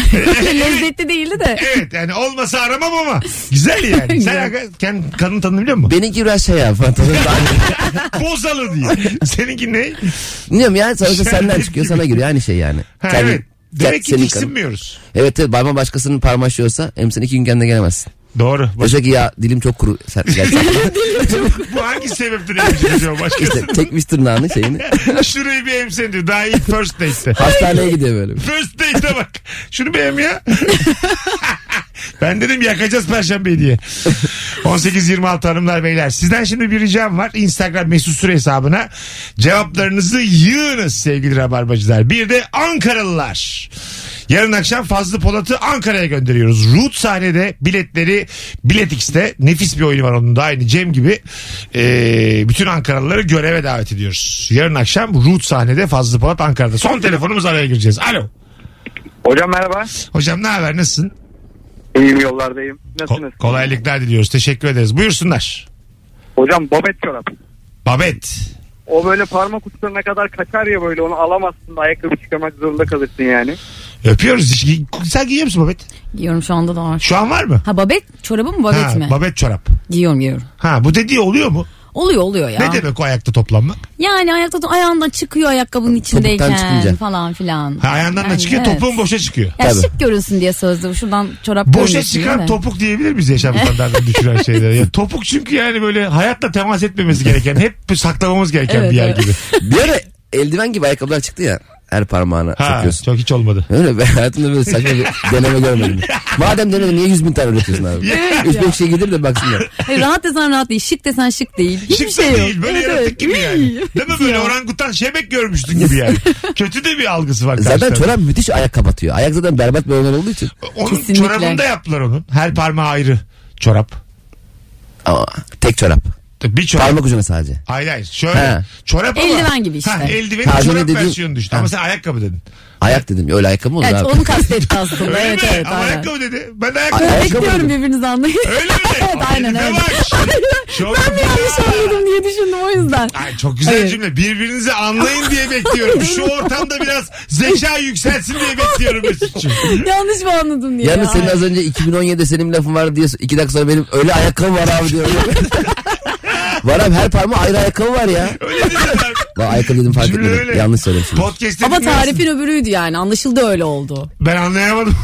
Speaker 4: Lezzetli değildi de.
Speaker 3: Evet yani olmasa aramam ama güzel yani. Sen
Speaker 4: Güzel.
Speaker 3: hakikaten kendi kanın tadını biliyor musun?
Speaker 5: Benimki biraz şey ya fantazim daha
Speaker 3: Bozalı diye. Seninki ne?
Speaker 5: Bilmiyorum yani sonuçta
Speaker 3: Şerbet
Speaker 5: senden çıkıyor
Speaker 3: gibi.
Speaker 5: sana giriyor aynı şey yani.
Speaker 3: Ha,
Speaker 5: Kendi-
Speaker 3: evet.
Speaker 5: kendi-
Speaker 3: Demek ki
Speaker 5: senin kanın.
Speaker 3: tiksinmiyoruz.
Speaker 5: Evet evet parmağın başkasının parmağı şiyorsa hem sen iki gün kendine gelemezsin.
Speaker 3: Doğru. Bak,
Speaker 5: Başka ki ya dilim çok kuru. Sen gerçekten
Speaker 3: bu hangi sebepten emsin diyor başkası.
Speaker 5: işte çekmiş tırnağını şeyini.
Speaker 3: Şurayı bir emsin diyor. Daha iyi first date'te.
Speaker 5: Hastaneye gidiyor böyle. şey.
Speaker 3: First date'e bak. Şunu bir em ya. ben dedim yakacağız perşembe diye. 18-26 hanımlar beyler. Sizden şimdi bir ricam var. Instagram mesut süre hesabına cevaplarınızı yığınız sevgili rabarbacılar. Bir de Ankaralılar. Yarın akşam Fazlı Polat'ı Ankara'ya gönderiyoruz. Root sahnede biletleri Bilet X'te nefis bir oyunu var onun da aynı Cem gibi. Ee, bütün Ankaralıları göreve davet ediyoruz. Yarın akşam Root sahnede Fazlı Polat Ankara'da. Son telefonumuz araya gireceğiz. Alo.
Speaker 8: Hocam merhaba.
Speaker 3: Hocam ne haber nasılsın?
Speaker 8: İyiyim yollardayım.
Speaker 3: Ko- kolaylıklar diliyoruz. Teşekkür ederiz. Buyursunlar.
Speaker 8: Hocam babet çorap.
Speaker 3: Babet.
Speaker 8: O böyle parmak uçlarına kadar kaçar ya böyle onu alamazsın. Ayakkabı çıkarmak zorunda kalırsın yani.
Speaker 3: Öpüyoruz. Hiç- Sen giyiyor musun babet?
Speaker 4: Giyiyorum şu anda da var.
Speaker 3: Şu an var mı?
Speaker 4: Ha babet çorabı mı babet
Speaker 3: ha,
Speaker 4: mi?
Speaker 3: Babet çorap.
Speaker 4: giyiyorum giyiyorum.
Speaker 3: Ha bu dediği oluyor mu?
Speaker 4: Oluyor oluyor ya.
Speaker 3: Ne demek o ayakta toplanmak?
Speaker 4: Yani ayakta ayağından çıkıyor ayakkabının
Speaker 5: çıkınca.
Speaker 4: içindeyken falan filan.
Speaker 3: Ha, ayağından da
Speaker 4: Yani
Speaker 3: çıkıyor
Speaker 4: evet.
Speaker 3: topuğun boşa çıkıyor.
Speaker 4: Ya
Speaker 5: Tabii.
Speaker 4: şık görünsün diye sözde. Şuradan çorap
Speaker 3: Boşa
Speaker 4: görünüyorsun, değil
Speaker 3: çıkan
Speaker 4: mi?
Speaker 3: topuk diyebilir miyiz yaşam standartını düşüren şeylere? Ya, topuk çünkü yani böyle hayatla temas etmemesi gereken, hep saklamamız gereken
Speaker 4: Evet,
Speaker 3: bir yer
Speaker 4: evet.
Speaker 3: gibi.
Speaker 5: Bir ara eldiven gibi ayakkabılar çıktı ya. Her parmağına
Speaker 3: Ha,
Speaker 5: takıyorsun.
Speaker 3: çok hiç olmadı.
Speaker 5: Öyle ben hayatımda böyle saçma bir deneme görmedim. Madem denedin niye yüz bin tane üretiyorsun abi? Üç beş şey gelir de baksınlar.
Speaker 4: Hayır, rahat desen rahat değil. Şık desen şık değil. Hiçbir
Speaker 3: Şık da
Speaker 4: şey yok.
Speaker 3: değil, böyle
Speaker 4: Evet,
Speaker 3: yaratık
Speaker 4: evet.
Speaker 3: gibi yani. Değil mi böyle orangutan şebek görmüştün gibi yani. Kötü de bir algısı var.
Speaker 5: Zaten
Speaker 3: karşı tarafın.
Speaker 5: çorap müthiş ayak kapatıyor. Ayak zaten berbat bir oyunlar olduğu için.
Speaker 3: Onun
Speaker 4: Kesinlikle.
Speaker 3: çorabında yaptılar onun. Her parmağı ayrı çorap.
Speaker 5: Ama tek çorap.
Speaker 3: Bir çorap.
Speaker 5: Parmak ucuna sadece.
Speaker 3: Hayır hayır. Şöyle.
Speaker 5: He.
Speaker 3: Çorap ama.
Speaker 4: Eldiven gibi işte.
Speaker 3: Ha, eldivenin
Speaker 5: Ha,
Speaker 3: çorap
Speaker 5: ne dedi-
Speaker 3: versiyonu düştü. Ama
Speaker 5: Ha.
Speaker 3: sen ayakkabı dedin.
Speaker 5: Ayak dedim öyle ayakkabı mı olur
Speaker 4: Evet
Speaker 5: abi?
Speaker 4: onu kastetti aslında.
Speaker 3: Öyle
Speaker 4: evet
Speaker 3: mi?
Speaker 4: evet.
Speaker 3: ama
Speaker 4: Aynen.
Speaker 3: ayakkabı dedi. Ben de ayakkabı.
Speaker 5: Ay- Ayakkabı
Speaker 4: Bekliyorum
Speaker 5: mı?
Speaker 4: birbirinizi anlayın.
Speaker 3: Öyle mi?
Speaker 4: evet aynen
Speaker 3: Ne
Speaker 4: öyle.
Speaker 3: var? Çok,
Speaker 4: Ben mi yanlış anladım diye düşündüm o yüzden.
Speaker 3: Ay, çok güzel
Speaker 4: Evet.
Speaker 3: cümle. Birbirinizi anlayın diye bekliyorum. Şu ortamda biraz zeka yükselsin diye bekliyorum Mesut'cum.
Speaker 4: Yanlış mı anladım diye.
Speaker 5: Yalnız
Speaker 4: ya.
Speaker 5: senin az önce 2017'de senin lafın var diye iki dakika sonra benim öyle ayakkabı var abi diyorum. var abi her parmağı ayrı ayakkabı var ya.
Speaker 3: Öyle dediler.
Speaker 5: Lan ayakkabı dedim fark
Speaker 3: Cümle
Speaker 5: etmedim.
Speaker 3: öyle.
Speaker 5: Yanlış söylemişim.
Speaker 3: Podcast'te
Speaker 4: Ama
Speaker 3: dinlersin.
Speaker 4: tarifin öbürüydü yani. Anlaşıldı öyle oldu.
Speaker 3: Ben anlayamadım.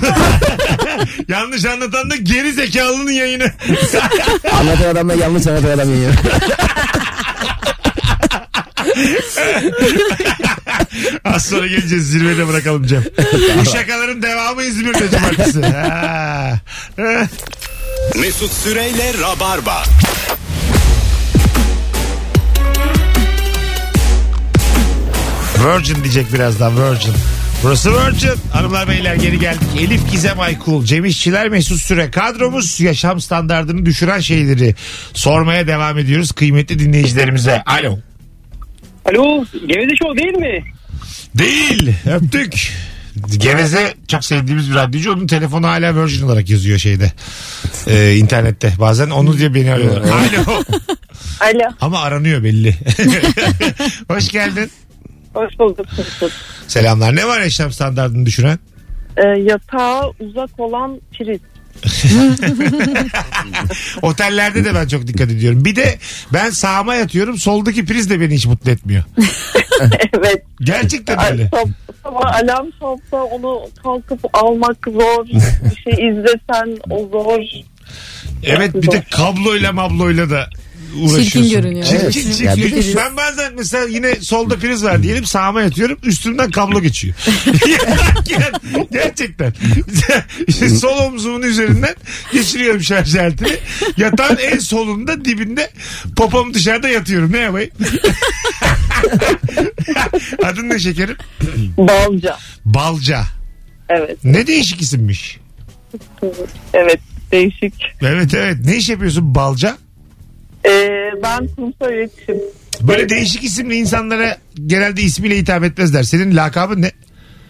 Speaker 3: Yanlış anlatan da geri zekalının yayını.
Speaker 5: Anlatan adamla yanlış anlatan adam yiyor.
Speaker 3: Az sonra geleceğiz zirvede bırakalım Cem. Bu şakaların devamı İzmir'de cumartesi. Ha.
Speaker 2: Mesut Süreyle Rabarba.
Speaker 3: Virgin diyecek birazdan Virgin. Burası Virgin. Hanımlar beyler geri geldik. Elif Gizem Aykul, Cem İşçiler Mesut Süre kadromuz yaşam standartını düşüren şeyleri sormaya devam ediyoruz kıymetli dinleyicilerimize. Alo.
Speaker 8: Alo Geveze Show değil mi?
Speaker 3: Değil. Öptük. Geveze çok sevdiğimiz bir radyocu. Onun telefonu hala Virgin olarak yazıyor şeyde. Ee, internette. Bazen onu diye beni arıyorlar. Alo.
Speaker 9: Alo.
Speaker 3: Ama aranıyor belli. Hoş geldin.
Speaker 9: Hoş bulduk. hoş bulduk.
Speaker 3: Selamlar. Ne var yaşam standartını düşüren?
Speaker 9: Ee, yatağa uzak olan priz.
Speaker 3: Otellerde de ben çok dikkat ediyorum. Bir de ben sağıma yatıyorum. Soldaki priz de beni hiç mutlu etmiyor.
Speaker 9: evet.
Speaker 3: Gerçekten
Speaker 9: Ay,
Speaker 3: öyle.
Speaker 9: sab- sabah alarm çalsa onu kalkıp almak zor. Bir şey izlesen o zor.
Speaker 3: Evet bir de kabloyla mabloyla da uğraşıyorsun.
Speaker 4: Çirkin görünüyor.
Speaker 3: Çirkin,
Speaker 5: Evet.
Speaker 3: çirkin.
Speaker 5: Yani bir-
Speaker 3: Çünkü Ben bazen mesela yine solda priz var diyelim sağıma yatıyorum üstümden kablo geçiyor. Ger- Gerçekten. İşte Sol omzumun üzerinden geçiriyorum şarj aletini. Yatağın en solunda dibinde popom dışarıda yatıyorum. Ne yapayım? Adın ne şekerim?
Speaker 9: Balca.
Speaker 3: Balca.
Speaker 9: Evet.
Speaker 3: Ne değişik isimmiş.
Speaker 9: Evet. Değişik.
Speaker 3: Evet evet. Ne iş yapıyorsun Balca?
Speaker 9: Ee, ben kurumsal iletişim.
Speaker 3: Böyle değişik isimli insanlara genelde ismiyle hitap etmezler. Senin lakabın ne?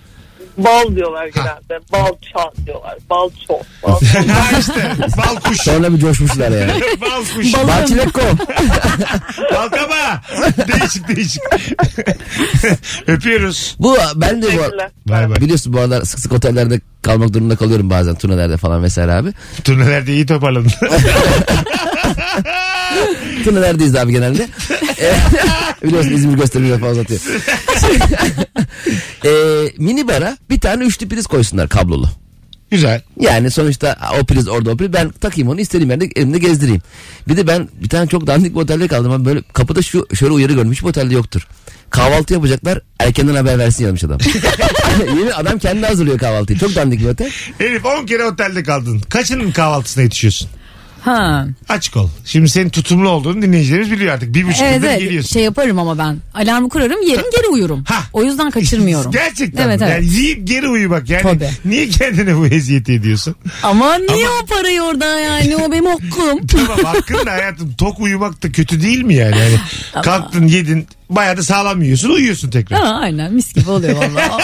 Speaker 9: Bal diyorlar genelde. Balça diyorlar. Balço. Bal-
Speaker 3: ha işte bal kuş.
Speaker 5: Sonra bir coşmuşlar ya.
Speaker 3: bal kuş.
Speaker 4: Bal-
Speaker 5: Bahçeleko.
Speaker 3: Bal kaba. Değişik değişik. Öpüyoruz.
Speaker 5: Bu ben de bu.
Speaker 9: Teşekkürler.
Speaker 3: Bay bay.
Speaker 5: Biliyorsun bu aralar sık sık otellerde kalmak durumunda kalıyorum bazen turnelerde falan vesaire abi.
Speaker 3: Turnelerde iyi toparladın.
Speaker 5: Turnelerdeyiz abi genelde. E, Biliyorsun İzmir gösterileri falan uzatıyor. e, mini bara bir tane üçlü priz koysunlar kablolu.
Speaker 3: Güzel.
Speaker 5: Yani sonuçta o priz orada o priz ben takayım onu istediğim yerde elimde gezdireyim. Bir de ben bir tane çok dandik bir otelde kaldım. Ben böyle kapıda şu şöyle uyarı görmüş hiçbir otelde yoktur. Kahvaltı yapacaklar erkenden haber versin yazmış adam. Yemin adam kendi hazırlıyor kahvaltıyı. Çok dandik bir otel.
Speaker 3: Elif 10 kere otelde kaldın. Kaçının kahvaltısına yetişiyorsun?
Speaker 4: Ha.
Speaker 3: Açık ol. Şimdi senin tutumlu olduğunu dinleyicilerimiz biliyor artık. Bir buçuk
Speaker 4: Evet,
Speaker 3: yıldır
Speaker 4: evet.
Speaker 3: geliyorsun.
Speaker 4: şey yaparım ama ben. Alarmı kurarım yerim geri uyurum.
Speaker 3: Ha.
Speaker 4: O yüzden kaçırmıyorum.
Speaker 3: Gerçekten.
Speaker 4: Evet,
Speaker 3: mi?
Speaker 4: evet.
Speaker 3: Yani yiyip geri uyumak. Yani
Speaker 4: Tabii.
Speaker 3: niye kendine bu eziyeti ediyorsun?
Speaker 4: Ama niye o parayı orada yani o benim hakkım.
Speaker 3: tamam hakkın da hayatım tok uyumak da kötü değil mi yani? yani kalktın yedin bayağı da sağlam yiyorsun uyuyorsun tekrar.
Speaker 4: Ha, aynen mis gibi oluyor valla.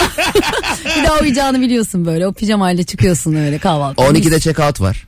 Speaker 4: bir daha uyuyacağını biliyorsun böyle. O pijamayla çıkıyorsun öyle kahvaltı.
Speaker 5: 12'de check out var.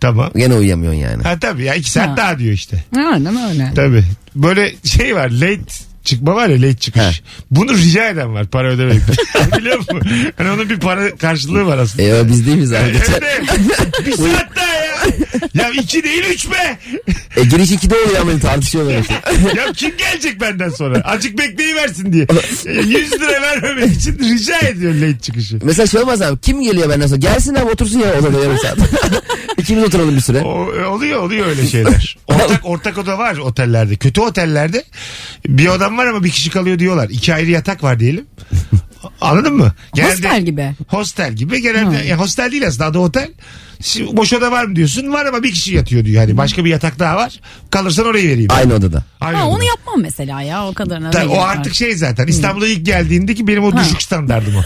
Speaker 3: Tamam.
Speaker 5: Gene uyuyamıyorsun yani.
Speaker 3: Ha tabii ya iki saat
Speaker 4: Ha.
Speaker 3: daha diyor işte.
Speaker 4: Aynen öyle.
Speaker 3: Tabii. Böyle şey var late çıkma var ya late çıkış. Bunu rica eden var para ödemeyip. Biliyor musun? Hani onun bir para karşılığı var aslında.
Speaker 5: E, o biz değil miyiz abi?
Speaker 3: Hem de bir saat daha ya. Ya iki değil üç be.
Speaker 5: E, giriş 2'de oluyor ama tartışıyorlar. işte.
Speaker 3: Ya kim gelecek benden sonra? Azıcık bekleyiversin diye. E, 100 lira vermemek için rica ediyor late çıkışı.
Speaker 5: Mesela şey olmaz abi. Kim geliyor benden sonra? Gelsin abi otursun ya odada yarım saat. İkimiz oturalım bir süre.
Speaker 3: O, e, oluyor oluyor öyle şeyler. Ortak ortak oda var otellerde. Kötü otellerde bir odam var ama bir kişi kalıyor diyorlar. İki ayrı yatak var diyelim. Anladın mı?
Speaker 4: Hostel gibi.
Speaker 3: Hostel gibi. Genelde ya hostel değil aslında adı otel. Şimdi boş oda var mı diyorsun? Var ama bir kişi yatıyor diyor. Hani başka bir yatak daha var. Kalırsan orayı vereyim.
Speaker 5: Aynı odada.
Speaker 3: Aynı
Speaker 4: Ha,
Speaker 3: odada.
Speaker 4: onu yapmam mesela ya o kadarına.
Speaker 3: Ta-
Speaker 4: ne
Speaker 3: o
Speaker 4: gerek
Speaker 3: artık
Speaker 4: var?
Speaker 3: şey zaten İstanbul'a ilk geldiğindeki benim o
Speaker 4: Ha.
Speaker 3: düşük standardım o.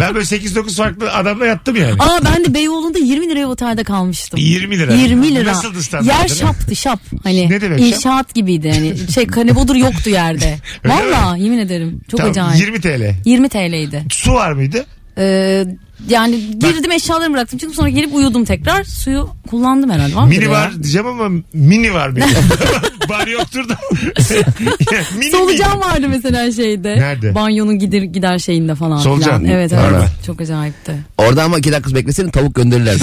Speaker 3: ben böyle 8-9 farklı adamla yattım yani.
Speaker 4: Aa ben de Beyoğlu'nda 20 liraya otelde kalmıştım.
Speaker 3: 20 lira.
Speaker 4: 20 lira.
Speaker 3: Nasıldı standartı?
Speaker 4: Yer şaptı şap. Hani
Speaker 3: Ne demek şap?
Speaker 4: inşaat gibiydi hani. Şey kanebodur yoktu yerde.
Speaker 3: Öyle
Speaker 4: Valla yemin ederim. Çok
Speaker 3: Tamam,
Speaker 4: acayip. 20,
Speaker 3: 20 TL.
Speaker 4: TL'ydi.
Speaker 3: Su var mıydı?
Speaker 4: Ee, yani girdim eşyalarımı bıraktım. Çünkü sonra gelip uyudum tekrar. Suyu kullandım herhalde. Var mıdır
Speaker 3: Mini
Speaker 4: ya?
Speaker 3: var diyeceğim ama mini var benim. Bar yoktur da. mini
Speaker 4: Solucan vardı mesela şeyde.
Speaker 3: Nerede?
Speaker 4: Banyonun gider, gider şeyinde falan. filan.
Speaker 3: Solucan.
Speaker 4: Evet
Speaker 5: Var
Speaker 4: evet.
Speaker 5: mı?
Speaker 4: Çok acayipti.
Speaker 5: Orada ama iki dakika bekleseydin tavuk gönderirler.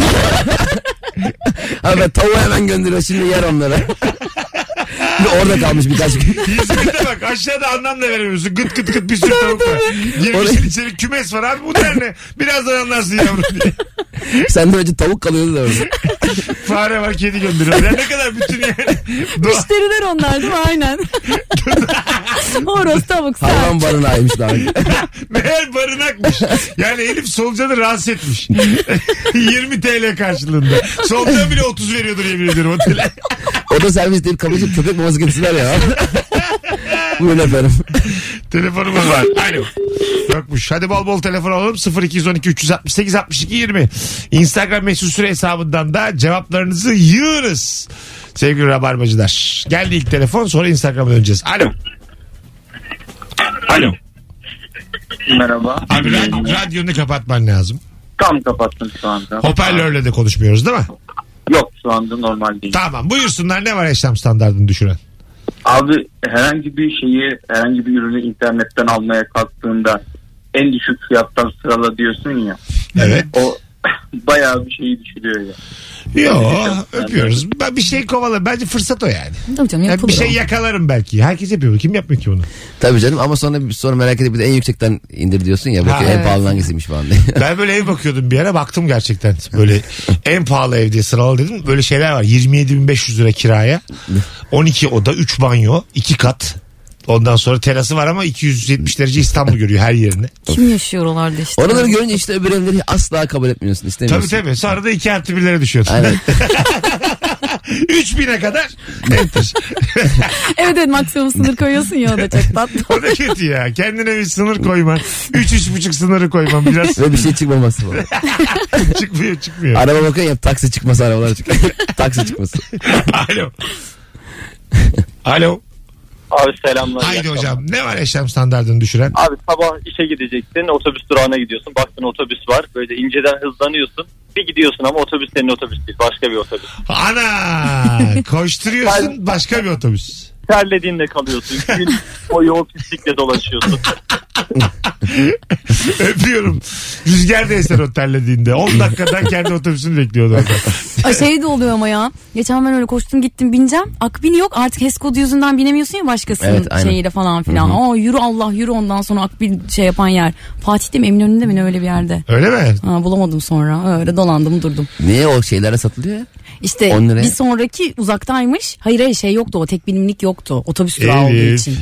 Speaker 5: Abi ben tavuğu hemen gönderiyor şimdi yer onlara. bir orada kalmış birkaç gün.
Speaker 3: mini. İzmir'de bak aşağıda anlam da veremiyorsun. Gıt gıt gıt bir sürü tavuk var. Girmişsin
Speaker 5: Oraya-
Speaker 3: içeri kümes var abi bu ne? Birazdan anlarsın yavrum diye.
Speaker 5: Senden önce tavuk kalıyordu da orada.
Speaker 3: Fare var kedi gönderiyor. Ya ne kadar bütün yani. Doğa-
Speaker 4: Müşteriler onlar değil mi? Aynen. Horoz tavuk sen.
Speaker 5: Hayvan barınağıymış daha önce.
Speaker 3: Meğer barınakmış. Yani Elif solucanı rahatsız etmiş. 20 TL karşılığında. Solucan bile 30 veriyordur yemin ediyorum otele.
Speaker 5: O da servis deyip kabul edip köpek maması getirsinler ya. Buyurun efendim.
Speaker 3: Telefonumuz var. Alo. Yokmuş. Hadi bol bol telefon alalım. 0212 368 62 20. Instagram mesut süre hesabından da cevaplarınızı yığınız. Sevgili rabarbacılar. Geldi ilk telefon sonra Instagram'a döneceğiz. Alo. Alo.
Speaker 8: Merhaba.
Speaker 3: Abi ra- radyonu kapatman lazım.
Speaker 8: Tam kapattım şu anda.
Speaker 3: Hoparlörle de konuşmuyoruz değil mi?
Speaker 8: Yok şu anda normal değil.
Speaker 3: Tamam buyursunlar ne var yaşam standartını düşüren?
Speaker 8: Abi herhangi bir şeyi herhangi bir ürünü internetten almaya kalktığında en düşük fiyattan sırala diyorsun ya.
Speaker 3: Evet.
Speaker 8: O bayağı bir şeyi düşürüyor ya.
Speaker 3: Yok öpüyoruz. Ben bir şey kovalarım. Bence fırsat o yani.
Speaker 4: Tabii canım
Speaker 3: Yani
Speaker 4: yapılır
Speaker 3: bir şey
Speaker 4: o.
Speaker 3: yakalarım belki. Herkes yapıyor. Kim yapmıyor ki bunu?
Speaker 5: Tabii canım ama sonra sonra merak edip bir de en yüksekten indir diyorsun ya. Bakıyor
Speaker 3: Ha,
Speaker 5: en pahalı hangisiymiş falan diye.
Speaker 3: Ben böyle ev bakıyordum bir ara baktım gerçekten. Böyle en pahalı ev diye sıralı dedim. Böyle şeyler var. 27.500 lira kiraya. 12 oda 3 banyo 2 kat. Ondan sonra terası var ama 270 derece İstanbul görüyor her yerini.
Speaker 4: Kim yaşıyor oralarda işte.
Speaker 5: Oraları görünce işte öbür evleri asla kabul etmiyorsun
Speaker 3: Tabii
Speaker 5: istemiyorsun.
Speaker 3: tabii. Sonra da 2 artı 1'lere düşüyordu.
Speaker 5: Aynen.
Speaker 3: 3000'e kadar. Enter.
Speaker 4: Evet evet maksimum sınır koyuyorsun ya o da çok tatlı.
Speaker 3: o da kötü ya. Kendine bir sınır koyman. 3-3,5 sınırı koyman. Biraz
Speaker 5: Ve bir şey çıkmaması falan.
Speaker 3: çıkmıyor çıkmıyor.
Speaker 5: Araba bakıyor ya taksi çıkması arabalar çıkıyor. taksi çıkması.
Speaker 3: Alo. Alo.
Speaker 8: Abi selamlar.
Speaker 3: Haydi hocam. Ne var yaşam standartını düşüren?
Speaker 8: Abi sabah işe gidecektin otobüs durağına gidiyorsun baktın otobüs var böyle inceden hızlanıyorsun bir gidiyorsun ama otobüs senin otobüs değil başka bir otobüs.
Speaker 3: Ana koşturuyorsun başka bir otobüs.
Speaker 8: Terlediğinde kalıyorsun gün boyu o pislikle dolaşıyorsun.
Speaker 3: Öpüyorum. Rüzgar da eser o terlediğinde. 10 dakikadan kendi otobüsünü bekliyordu orada.
Speaker 4: Ay şey de oluyor ama ya. Geçen ben öyle koştum gittim bineceğim. Akbin yok artık HES kodu yüzünden binemiyorsun ya başkasının
Speaker 5: Evet, aynen.
Speaker 4: şeyiyle falan filan. Aa yürü Allah yürü ondan sonra Akbin şey yapan yer. Fatih'te mi Eminönü'nde mi ne öyle bir yerde.
Speaker 3: Öyle mi?
Speaker 4: Ha, bulamadım sonra öyle dolandım durdum.
Speaker 5: Niye o şeylere satılıyor ya?
Speaker 4: İşte
Speaker 5: 10 liraya.
Speaker 4: bir sonraki uzaktaymış. Hayır hayır şey yoktu o tek bilimlik yoktu. Otobüs durağı olduğu
Speaker 3: Elif.
Speaker 4: için.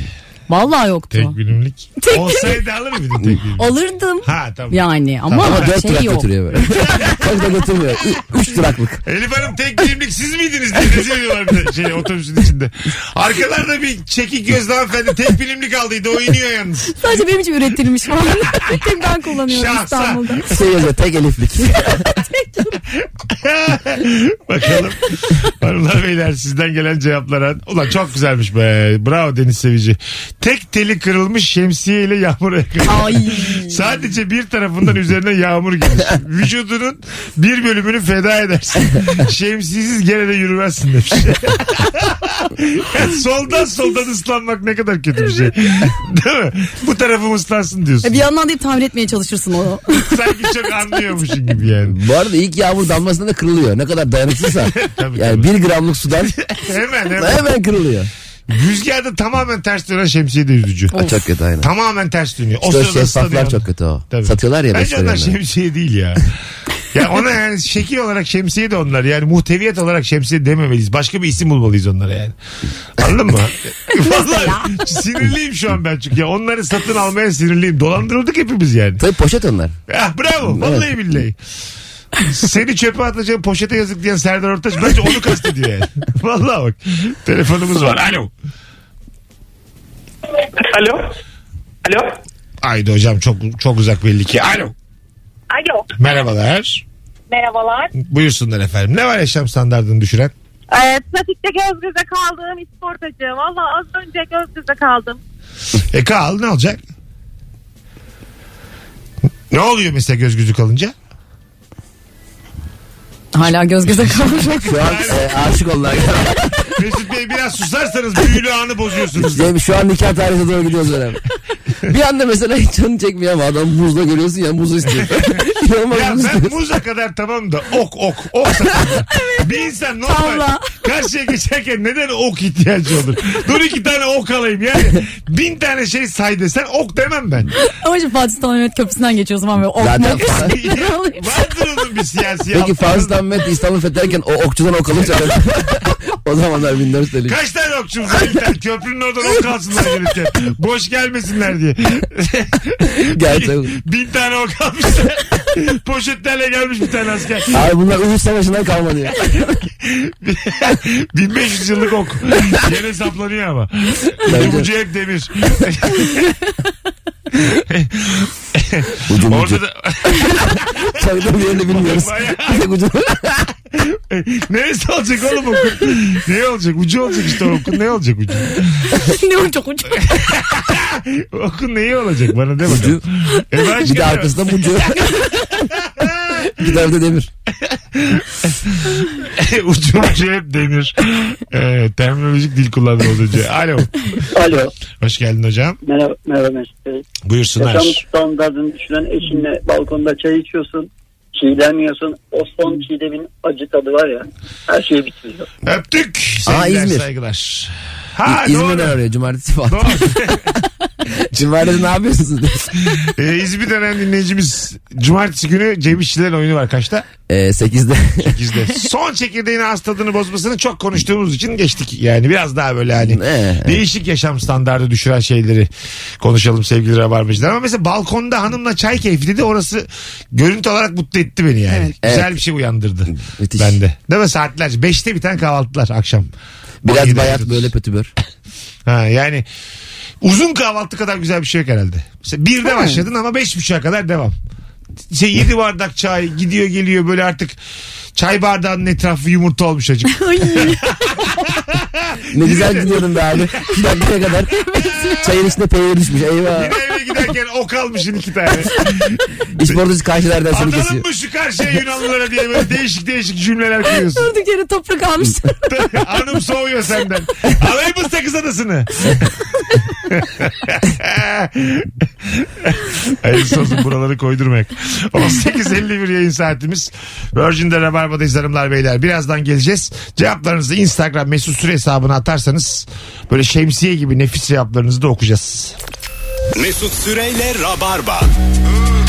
Speaker 4: Vallahi yoktu.
Speaker 3: Tek bilimlik. Olsaydı alır mıydin tek bilimlik?
Speaker 4: Alırdım.
Speaker 3: Ha tamam.
Speaker 4: Yani ama,
Speaker 5: Ama dört
Speaker 4: şey
Speaker 5: durak
Speaker 4: yok.
Speaker 5: götürüyor böyle. Çok da götürmüyor. Ü- Üç duraklık.
Speaker 3: Elif Hanım tek bilimlik siz miydiniz diye rezil ediyorlar bir de şey, otobüsün içinde. Arkalarda bir çekik gözlü hanımefendi tek bilimlik aldıydı o iniyor yalnız.
Speaker 4: Sadece benim için üretilmiş falan. tek ben kullanıyorum
Speaker 3: Şahsa.
Speaker 4: İstanbul'da.
Speaker 5: Şey yazıyor tek eliflik.
Speaker 3: Bakalım hanımlar beyler sizden gelen cevaplara. Ulan çok güzelmiş be. Bravo Deniz Sevici. Tek teli kırılmış şemsiye ile yağmur yakın.
Speaker 4: Ay.
Speaker 3: Hmm. Sadece bir tarafından üzerine yağmur gelir. Vücudunun bir bölümünü feda edersin. Şemsiyesiz gene de yürümezsin demiş. Yani soldan soldan ıslanmak ne kadar kötü bir şey. Değil mi? Bu tarafım ıslansın
Speaker 5: E,
Speaker 3: diyorsun.
Speaker 4: E, Bir yandan deyip tamir etmeye çalışırsın onu.
Speaker 3: Sanki çok anlıyormuşsun gibi yani.
Speaker 5: Bu arada ilk yağmur damlasında da kırılıyor. Ne kadar dayanıksızsa.
Speaker 3: Tabii,
Speaker 5: yani
Speaker 3: tabii.
Speaker 5: bir gramlık sudan
Speaker 3: Hemen hemen.
Speaker 5: hemen kırılıyor.
Speaker 3: Rüzgarda tamamen ters dönen şemsiye de üzücü.
Speaker 5: Ha, E, çok kötü aynen.
Speaker 3: Tamamen ters dönüyor. O
Speaker 5: İşte o
Speaker 3: sırada ıslanıyor.
Speaker 5: şeffaflar çok kötü o.
Speaker 3: Tabii.
Speaker 5: Satıyorlar ya.
Speaker 3: Bence şey- onlar
Speaker 5: restoranlarda.
Speaker 3: şemsiye değil ya. ya ona yani şekil olarak şemsiye de onlar. Yani muhteviyet olarak şemsiye dememeliyiz. Başka bir isim bulmalıyız onlara yani. Anladın mı? Vallahi sinirliyim şu an ben çünkü. Ya onları satın almaya sinirliyim. Dolandırıldık hepimiz yani.
Speaker 5: Tabii poşet onlar.
Speaker 3: Ah, bravo. Vallahi
Speaker 5: Evet.
Speaker 3: billahi. Seni çöpe atacağım poşete yazık diyen Serdar Ortaç bence onu kastediyor yani. Vallahi bak. Telefonumuz var. Alo.
Speaker 8: Alo. Alo.
Speaker 3: Haydi hocam çok çok uzak belli ki. Alo.
Speaker 9: Alo.
Speaker 3: Merhabalar.
Speaker 9: Merhabalar.
Speaker 3: Buyursunlar efendim. Ne var yaşam standartını düşüren?
Speaker 9: Ee, trafikte göz göze kaldığım iskortacı. Valla az önce göz göze kaldım.
Speaker 3: E kal ne olacak? Ne oluyor mesela göz gözü kalınca?
Speaker 4: Hala göz göze kalmış.
Speaker 5: Şu an e, aşık onlar.
Speaker 3: Mesut Bey biraz susarsanız büyülü anı bozuyorsunuz.
Speaker 5: Yani şu an nikah tarihine doğru gidiyoruz öyle. Bir anda mesela hiç canını çekmiyor ama adam buzla görüyorsun ya muzu istiyor. İnanılmaz
Speaker 3: Ya
Speaker 5: muz
Speaker 3: ben
Speaker 5: istiyor.
Speaker 3: muza kadar tamam da ok ok ok sakın. Bir insan normal
Speaker 4: Tavla.
Speaker 3: karşıya geçerken neden ok ihtiyacı olur? Dur iki tane ok alayım yani. Bin tane şey say desen ok demem ben.
Speaker 4: Ama şimdi Fatih Sultan Mehmet Köprüsü'nden geçiyoruz falan böyle
Speaker 5: Zaten
Speaker 4: okmak.
Speaker 3: Vardır onun bir siyasi
Speaker 5: Peki
Speaker 3: altı.
Speaker 5: Fazıl Ahmet İstanbul fetherken o okçudan ok alınca o zamanlar 1400'lik.
Speaker 3: Kaç tane okçumuz var? Bir tane Köprünün oradan ok alsınlar gelirken. Boş gelmesinler diye.
Speaker 5: Gerçekten.
Speaker 3: Bin tane ok almışlar. Poşetlerle gelmiş bir tane asker.
Speaker 5: Abi bunlar Uhud Savaşı'ndan kalma diyor.
Speaker 3: 1500 yıllık ok. Yere saplanıyor ama.
Speaker 5: Bence-
Speaker 3: Ucu hep demir.
Speaker 5: Ucu ucu.
Speaker 3: Orada da
Speaker 5: Çakıda bir yerini bilmiyoruz.
Speaker 3: Bayağı.
Speaker 5: Bir tek ucu.
Speaker 3: neresi olacak oğlum okun? Ne olacak? Ucu olacak işte okun. Ne olacak ucu?
Speaker 4: ne uçuk uçuk.
Speaker 3: Okun neyi olacak bana de bakalım.
Speaker 5: Ucu.
Speaker 3: E başka
Speaker 5: Bir de
Speaker 3: ne var?
Speaker 5: arkasında ucu. Bir de orada demir.
Speaker 3: ucu ucu şey hep demir. Ee, terminolojik dil kullanıyoruz hocam. Alo.
Speaker 8: Alo.
Speaker 3: Hoş geldin hocam.
Speaker 8: Merhaba, merhaba Mesut Bey. Yaşam
Speaker 3: Buyursunlar.
Speaker 8: standartını düşünen eşinle balkonda çay içiyorsun. Çiğdemiyorsun. O son çiğdemin acı tadı var ya. Her şey bitiriyor.
Speaker 3: Öptük. Sevgiler,
Speaker 5: Aa, İzmir.
Speaker 3: saygılar. Ha,
Speaker 5: İzmir'den
Speaker 3: doğru.
Speaker 5: arıyor cumartesi falan.
Speaker 3: Doğru.
Speaker 5: Cumartesi ne yapıyorsunuz?
Speaker 3: Ee, İzmir'den hem dinleyicimiz Cumartesi günü Cem İşçilerin oyunu var kaçta?
Speaker 5: e, 8'de.
Speaker 3: 8'de. Son çekirdeğin az tadını bozmasını çok konuştuğumuz için geçtik. Yani biraz daha böyle hani
Speaker 5: Ee.
Speaker 3: değişik yaşam standardı düşüren şeyleri konuşalım sevgili Rabarbacılar. Ama mesela balkonda hanımla çay keyfi dedi orası görüntü olarak mutlu etti beni yani. Güzel
Speaker 5: Evet.
Speaker 3: bir şey uyandırdı.
Speaker 5: Müthiş.
Speaker 3: Bende. Değil mi saatlerce? 5'te biten kahvaltılar akşam.
Speaker 5: Biraz
Speaker 3: 17'de
Speaker 5: bayat
Speaker 3: otuz.
Speaker 5: böyle pötübör.
Speaker 3: Ha, yani uzun kahvaltı kadar güzel bir şey yok herhalde. Mesela birde başladın ama beş buçuğa kadar devam. Şey yedi bardak çay gidiyor geliyor böyle artık çay bardağının etrafı yumurta olmuş acık.
Speaker 5: Ne güzel gidiyordum be abi. Bir dakikaya kadar çayın içinde peynir düşmüş. Eyvah.
Speaker 3: Yine eve giderken ok almışsın iki tane.
Speaker 5: İsportacı karşılardan seni
Speaker 3: Atalım
Speaker 5: kesiyor.
Speaker 3: mı şu karşıya Yunanlılara diye böyle değişik değişik cümleler kuruyorsun.
Speaker 4: Durduk yere toprak almışlar.
Speaker 3: Hanım soğuyor senden. Alayım mı sakız adasını? Hayırlısı olsun buraları koydurmak. 18.51 yayın saatimiz. Virgin'de Rabarba'dayız hanımlar beyler. Birazdan geleceğiz. Cevaplarınızı Instagram mesut süre hesabına atarsanız böyle şemsiye gibi nefis cevaplarınızı da okuyacağız.
Speaker 2: Mesut Süreyle Rabarba.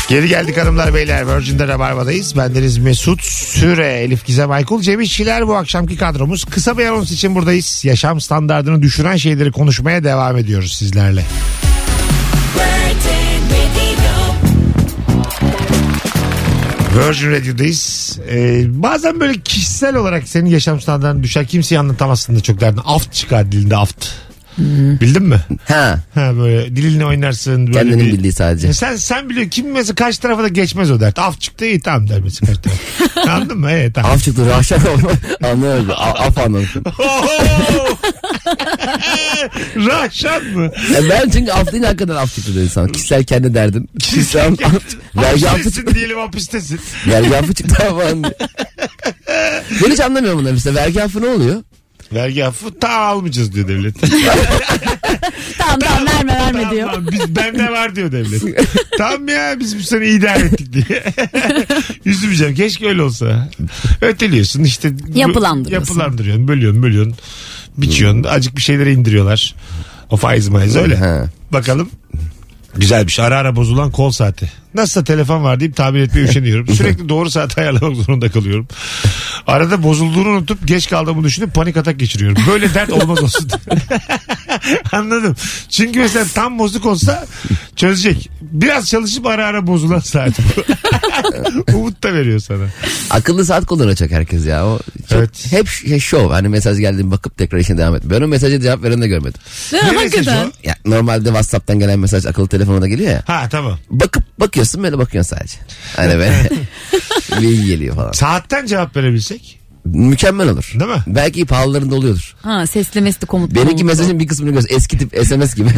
Speaker 3: Geri geldik hanımlar beyler. Virgin'de Rabarba'dayız. Bendeniz Mesut Süre, Elif Gizem Aykul, Cem İşçiler bu akşamki kadromuz. Kısa bir anons için buradayız. Yaşam standartını düşüren şeyleri konuşmaya devam ediyoruz sizlerle. Virgin Radio'dayız. Ee, bazen böyle kişisel olarak senin yaşam standartını düşer. Kimseye anlatamazsın da çok derdin. Aft çıkar dilinde aft. Bildin mi?
Speaker 5: Ha
Speaker 3: Ha böyle dilinle oynarsın. Böyle
Speaker 5: kendinin
Speaker 3: bir-
Speaker 5: bildiği sadece.
Speaker 3: Ya E Sen sen biliyor kim mesela karşı tarafa da geçmez o dert. Af çıktı iyi tamam der mesela karşı tarafa. Anladın mı? Evet tamam.
Speaker 5: Af çıktı rahşan anlamadım. A- Af anladım.
Speaker 3: Oho! Rahşan mı?
Speaker 5: Ya ben çünkü af deyince hakikaten af çıktı dedi sana. Kişisel kendi derdim. Kişisel af çıktı. Vergi affı çıktı.
Speaker 3: Hapistesin diyelim hapistesin.
Speaker 5: Vergi affı çıktı falan diye. Ben hiç anlamıyorum bunları mesela. Vergi affı ne oluyor?
Speaker 3: Vergi affı ta almayacağız diyor devlet.
Speaker 4: Tamam tamam verme verme
Speaker 3: tamam,
Speaker 4: diyor.
Speaker 3: tamam, biz, bende var diyor devlet. tamam ya biz bu sene idare ettik diye. Üzülmeyeceğim keşke öyle olsa. Öteliyorsun işte. bu-
Speaker 4: Yapılandırıyorsun.
Speaker 3: Yapılandırıyorsun bölüyorsun bölüyorsun. Biçiyorsun acık bir şeylere indiriyorlar. O faiz maiz öyle.
Speaker 5: Ha.
Speaker 3: Bakalım. Güzelmiş. şey. Ara ara bozulan kol saati. Nasılsa telefon var deyip tahmin etmeye üşeniyorum. Sürekli doğru saati ayarlamak zorunda kalıyorum. Arada bozulduğunu unutup geç kaldığımı düşünüp panik atak geçiriyorum. Böyle dert olmaz olsun. Anladım. Çünkü mesela tam bozuk olsa çözecek. Biraz çalışıp ara ara bozulan saat. Umut da veriyor sana.
Speaker 5: Akıllı saat kullanacak herkes ya. O çok,
Speaker 3: Evet.
Speaker 5: Hep şey, şov. Hani mesaj geldi bakıp tekrar işine devam et. Ben o mesaja cevap veren de görmedim.
Speaker 4: Değil mi?
Speaker 3: Ne mesajı
Speaker 4: Hakikaten.
Speaker 3: o?
Speaker 5: Ya, normalde WhatsApp'tan gelen mesaj akıllı telefonuna da geliyor ya.
Speaker 3: Ha tamam.
Speaker 5: Bakıp bakıyorsun böyle bakıyorsun sadece. Hani böyle bilgi geliyor falan.
Speaker 3: Saatten cevap verebilsek.
Speaker 5: Mükemmel olur.
Speaker 3: Değil mi?
Speaker 5: Belki pahalılarında oluyordur.
Speaker 4: Ha sesli mesli komut.
Speaker 5: Benimki mesajın bir kısmını görüyorsun. Eski tip SMS gibi.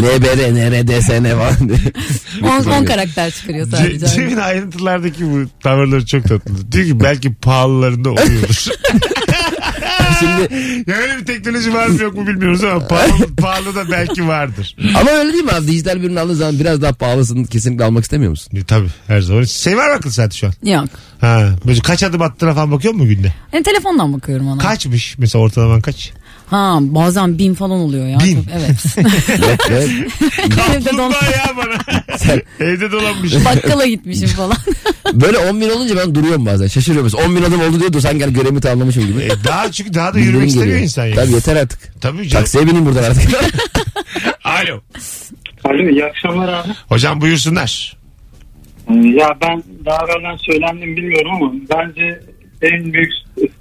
Speaker 5: NBR, NRDSN falan diye.
Speaker 4: 10 karakter çıkarıyor
Speaker 3: Ce-
Speaker 4: sadece.
Speaker 3: Cem'in ayrıntılardaki bu tavırları çok tatlı. Diyor ki belki pahalılarında oluyordur.
Speaker 5: Şimdi,
Speaker 3: Ya öyle bir teknoloji var mı yok mu bilmiyoruz ama pahalı, pahalı da belki vardır.
Speaker 5: ama öyle değil mi abi? Dijital bir ürün aldığın zaman biraz daha pahalısını kesinlikle almak istemiyor musun?
Speaker 3: E, tabii her zaman. Şey var mı akıl saati şu an?
Speaker 4: Yok.
Speaker 3: Ha, böyle kaç adım attığına falan bakıyor mu günde?
Speaker 4: Yani telefondan bakıyorum ona.
Speaker 3: Kaçmış mesela ortalaman kaç?
Speaker 4: Ha bazen bin falan oluyor ya.
Speaker 3: Bin.
Speaker 4: Çok- Evet.
Speaker 5: Yok, yok.
Speaker 4: Evde don-
Speaker 3: Kaplumbağa ya bana. Evde dolanmış.
Speaker 4: Bakkala gitmişim falan.
Speaker 5: Böyle 10 bin olunca ben duruyorum bazen. Şaşırıyorum. mesela. 10 bin adım oldu diyor. Dur sen gel görevimi tamamlamışım gibi.
Speaker 3: E, daha çünkü daha da
Speaker 5: Bildirim
Speaker 3: yürümek istemiyor
Speaker 5: geliyor.
Speaker 3: insan ya.
Speaker 5: Tabii yeter artık.
Speaker 3: Tabii canım.
Speaker 5: Taksiye binin buradan artık.
Speaker 3: Alo.
Speaker 8: Alo iyi akşamlar abi.
Speaker 3: Hocam buyursunlar.
Speaker 8: Ya ben daha evvelden söylendim bilmiyorum ama bence en büyük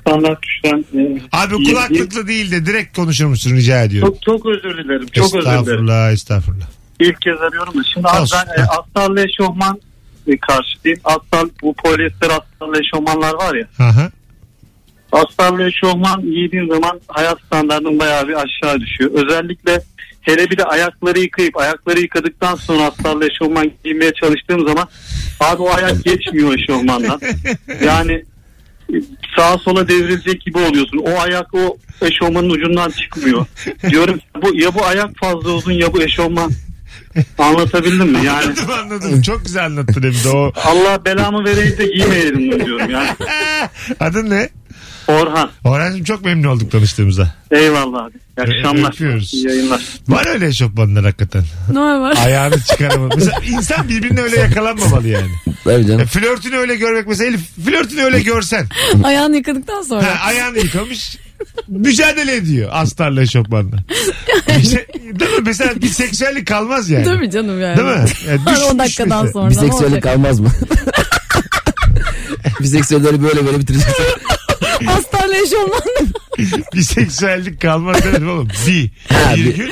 Speaker 8: standart düşen... e,
Speaker 3: Abi
Speaker 8: yedi-
Speaker 3: kulaklıkla değil de direkt konuşur musun rica ediyorum.
Speaker 8: Çok, çok özür dilerim. Çok özür dilerim.
Speaker 3: estağfurullah estağfurullah.
Speaker 8: İlk kez arıyorum da. Şimdi abi
Speaker 3: Olsun.
Speaker 8: ben e, astarlı eşofman e, karşıtıyım. Astar, bu polyester astarlı eşofmanlar var ya.
Speaker 3: Aha.
Speaker 8: Astarlı eşofman giydiğin zaman hayat standartın bayağı bir aşağı düşüyor. Özellikle hele bir de ayakları yıkayıp ayakları yıkadıktan sonra astarlı eşofman giymeye çalıştığım zaman abi o ayak geçmiyor eşofmandan. Yani e, sağa sola devrilecek gibi oluyorsun. O ayak o eşofmanın ucundan çıkmıyor. Diyorum bu ya bu ayak fazla uzun ya bu eşofman. Anlatabildim mi? Yani
Speaker 3: Anladım anladım. Çok güzel anlattın hem de o.
Speaker 8: Allah belamı vereyim de giymeyelim diyorum yani.
Speaker 3: Eh, Adın ne?
Speaker 8: Orhan
Speaker 3: Orhan'cığım çok memnun olduk tanıştığımıza.
Speaker 8: eyvallah abi. İyi
Speaker 3: Ö-
Speaker 8: akşamlar.
Speaker 3: öpüyoruz.
Speaker 8: İyi yayınlar.
Speaker 3: Var öyle eşofmanlar hakikaten.
Speaker 4: Normal.
Speaker 3: Ayağını çıkaramadı. Mesela insan birbirini öyle yakalanmamalı yani.
Speaker 5: Tabii
Speaker 3: E,
Speaker 5: canım.
Speaker 3: flörtünü öyle görmek mesela Elif flörtünü öyle görsen.
Speaker 4: Ayağını yıkadıktan sonra.
Speaker 3: Ha, ayağını yıkamış. mücadele ediyor astarla eşofmanla. İşte, değil mi? Mesela bir seksüellik kalmaz yani.
Speaker 4: Değil mi canım yani?
Speaker 3: Değil mi? E, Yani düş-
Speaker 4: 10 dakikadan
Speaker 3: düşmesi.
Speaker 4: sonra.
Speaker 5: Biseksüellik
Speaker 4: ne olacak?
Speaker 5: kalmaz mı? Biseksüelleri böyle böyle bitirecek.
Speaker 4: Hastane eşofmanla.
Speaker 3: Bir seksüellik kalmaz demedim oğlum. Bir.
Speaker 5: Ha,
Speaker 3: bir
Speaker 5: bir.
Speaker 3: gün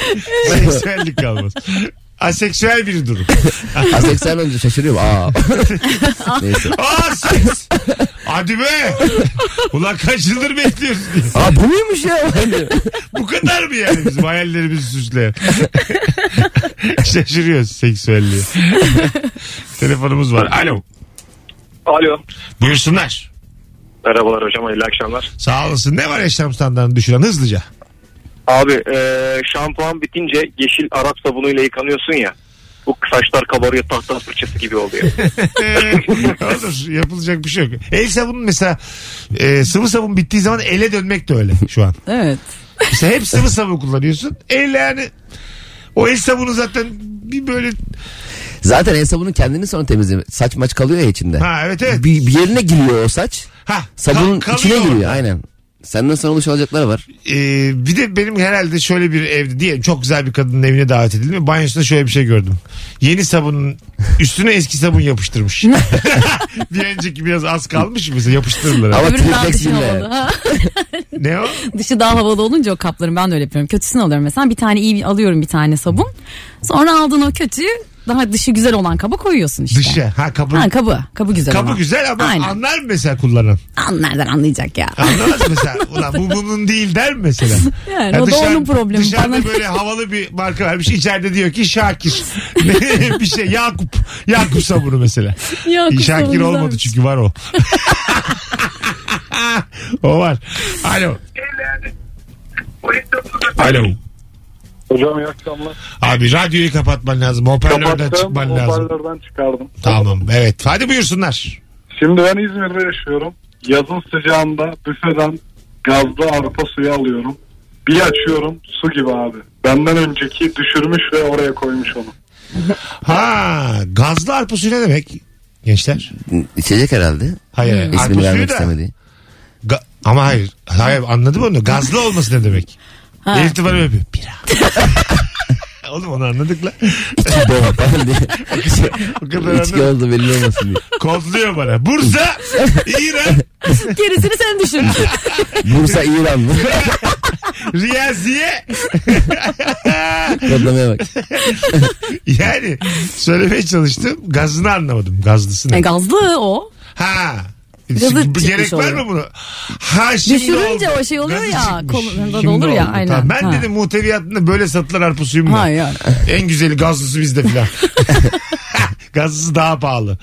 Speaker 3: seksüellik kalmaz. Aseksüel bir durum.
Speaker 5: Aseksüel olunca şaşırıyorum. Aa. Neyse.
Speaker 3: Aa seks. Hadi be. Ulan kaç yıldır bekliyoruz diye.
Speaker 5: Aa bu muymuş ya? Hani
Speaker 3: Bu kadar mı yani bizim hayallerimizi süsleyen? Şaşırıyoruz seksüelliğe. Telefonumuz var. Alo.
Speaker 10: Alo.
Speaker 3: Buyursunlar.
Speaker 10: Merhabalar hocam hayırlı akşamlar.
Speaker 3: Sağ olasın. Ne var yaşam standartını düşüren hızlıca?
Speaker 10: Abi e, şampuan bitince yeşil Arap sabunuyla yıkanıyorsun ya. Bu saçlar kabarıyor tahta fırçası gibi oluyor.
Speaker 3: Ee, olur. Yapılacak bir şey yok. El sabunu mesela e, sıvı sabun bittiği zaman ele dönmek de öyle şu an.
Speaker 4: Evet.
Speaker 3: İşte hep sıvı sabun kullanıyorsun. El yani o el sabunu zaten bir böyle
Speaker 5: Zaten el sabunu kendini sonra temizliyor. Saç maç kalıyor ya içinde.
Speaker 3: ha evet evet.
Speaker 5: Bir, bir yerine giriyor o saç.
Speaker 3: Ha,
Speaker 5: Sabunun
Speaker 3: kal-
Speaker 5: içine
Speaker 3: kalıyor.
Speaker 5: giriyor aynen. Senden sonra oluşacaklar var.
Speaker 3: Ee, bir de benim herhalde şöyle bir evde diyelim çok güzel bir kadının evine davet edildim. ve Banyosunda şöyle bir şey gördüm. Yeni sabunun Üstüne eski sabun yapıştırmış. bir önceki biraz az kalmış mesela yapıştırırlar.
Speaker 5: Ama
Speaker 4: Öbürü daha dışı
Speaker 5: triplexinle.
Speaker 4: havalı. Ha.
Speaker 3: Ne o?
Speaker 4: dışı daha havalı olunca o kaplarım ben de öyle yapıyorum. Kötüsünü alıyorum mesela. Bir tane iyi bir- alıyorum bir tane sabun. Sonra aldığın o kötüyü daha dışı güzel olan kaba koyuyorsun işte.
Speaker 3: Dışı. Ha kabı.
Speaker 4: Ha kabı. Kabı güzel
Speaker 3: kabı
Speaker 4: olan.
Speaker 3: güzel ama
Speaker 4: Aynen.
Speaker 3: anlar mı mesela kullanan?
Speaker 4: An nereden anlayacak ya?
Speaker 3: Anlamaz mesela. Ulan bu bunun değil der mi mesela?
Speaker 4: Yani o da onun problemi.
Speaker 3: Dışarıda
Speaker 4: Bana-
Speaker 3: böyle havalı bir marka vermiş. İçeride diyor ki Şakir. bir şey Yakup. Yakup sabunu mesela.
Speaker 4: Yakup sabunu
Speaker 3: Şakir
Speaker 4: güzelmiş.
Speaker 3: olmadı çünkü var o. o var. Alo. Alo.
Speaker 8: Hocam iyi akşamlar.
Speaker 3: Abi radyoyu kapatman lazım. Hoparlörden çıkman lazım.
Speaker 8: hoparlörden çıkardım.
Speaker 3: Tamam evet. Hadi buyursunlar.
Speaker 8: Şimdi ben İzmir'de yaşıyorum. Yazın sıcağında büfeden gazlı arpa suyu alıyorum. Bir açıyorum su gibi abi. Benden önceki düşürmüş ve oraya koymuş onu.
Speaker 3: Ha gazlı arpa suyu ne demek gençler?
Speaker 5: İçecek herhalde.
Speaker 3: Hayır.
Speaker 4: Hmm.
Speaker 3: hayır.
Speaker 5: İsmini
Speaker 3: Arpa suyu
Speaker 5: vermek
Speaker 3: da.
Speaker 5: istemediği.
Speaker 3: Ga- ama hayır. Hayır anladım onu. Gazlı olması ne demek? Elif de bana öpüyor. Bira. Oğlum onu anladık lan.
Speaker 5: İçi dova falan diye.
Speaker 3: O kadar anladık.
Speaker 5: İçki oldu belli olmasın diye.
Speaker 3: Kodluyor bana. Bursa, İran,
Speaker 4: Gerisini sen düşün.
Speaker 5: Bursa İran mı?
Speaker 3: Riyaziye.
Speaker 5: Kodlamaya bak.
Speaker 3: Yani söylemeye çalıştım. Gazını anlamadım. Gazlısı
Speaker 4: E,
Speaker 3: ne?
Speaker 4: gazlı o.
Speaker 3: Ha.
Speaker 4: Gazı
Speaker 3: Şimdi
Speaker 4: çıkmış
Speaker 3: Gerek var
Speaker 4: oluyor.
Speaker 3: mı bunu? Ha şimdi
Speaker 4: Düşürünce
Speaker 3: oldu.
Speaker 4: o şey oluyor
Speaker 3: Gazı
Speaker 4: ya,
Speaker 3: çıkmış.
Speaker 4: kolunda
Speaker 3: Şimdi
Speaker 4: olur ya,
Speaker 3: oldu.
Speaker 4: aynen.
Speaker 3: Tamam, ben
Speaker 4: Ha.
Speaker 3: dedim muhteviyatında böyle satılan arpa suyu mu? var?
Speaker 4: Hayır.
Speaker 3: En güzeli gazlısı bizde filan. Gazlısı daha pahalı.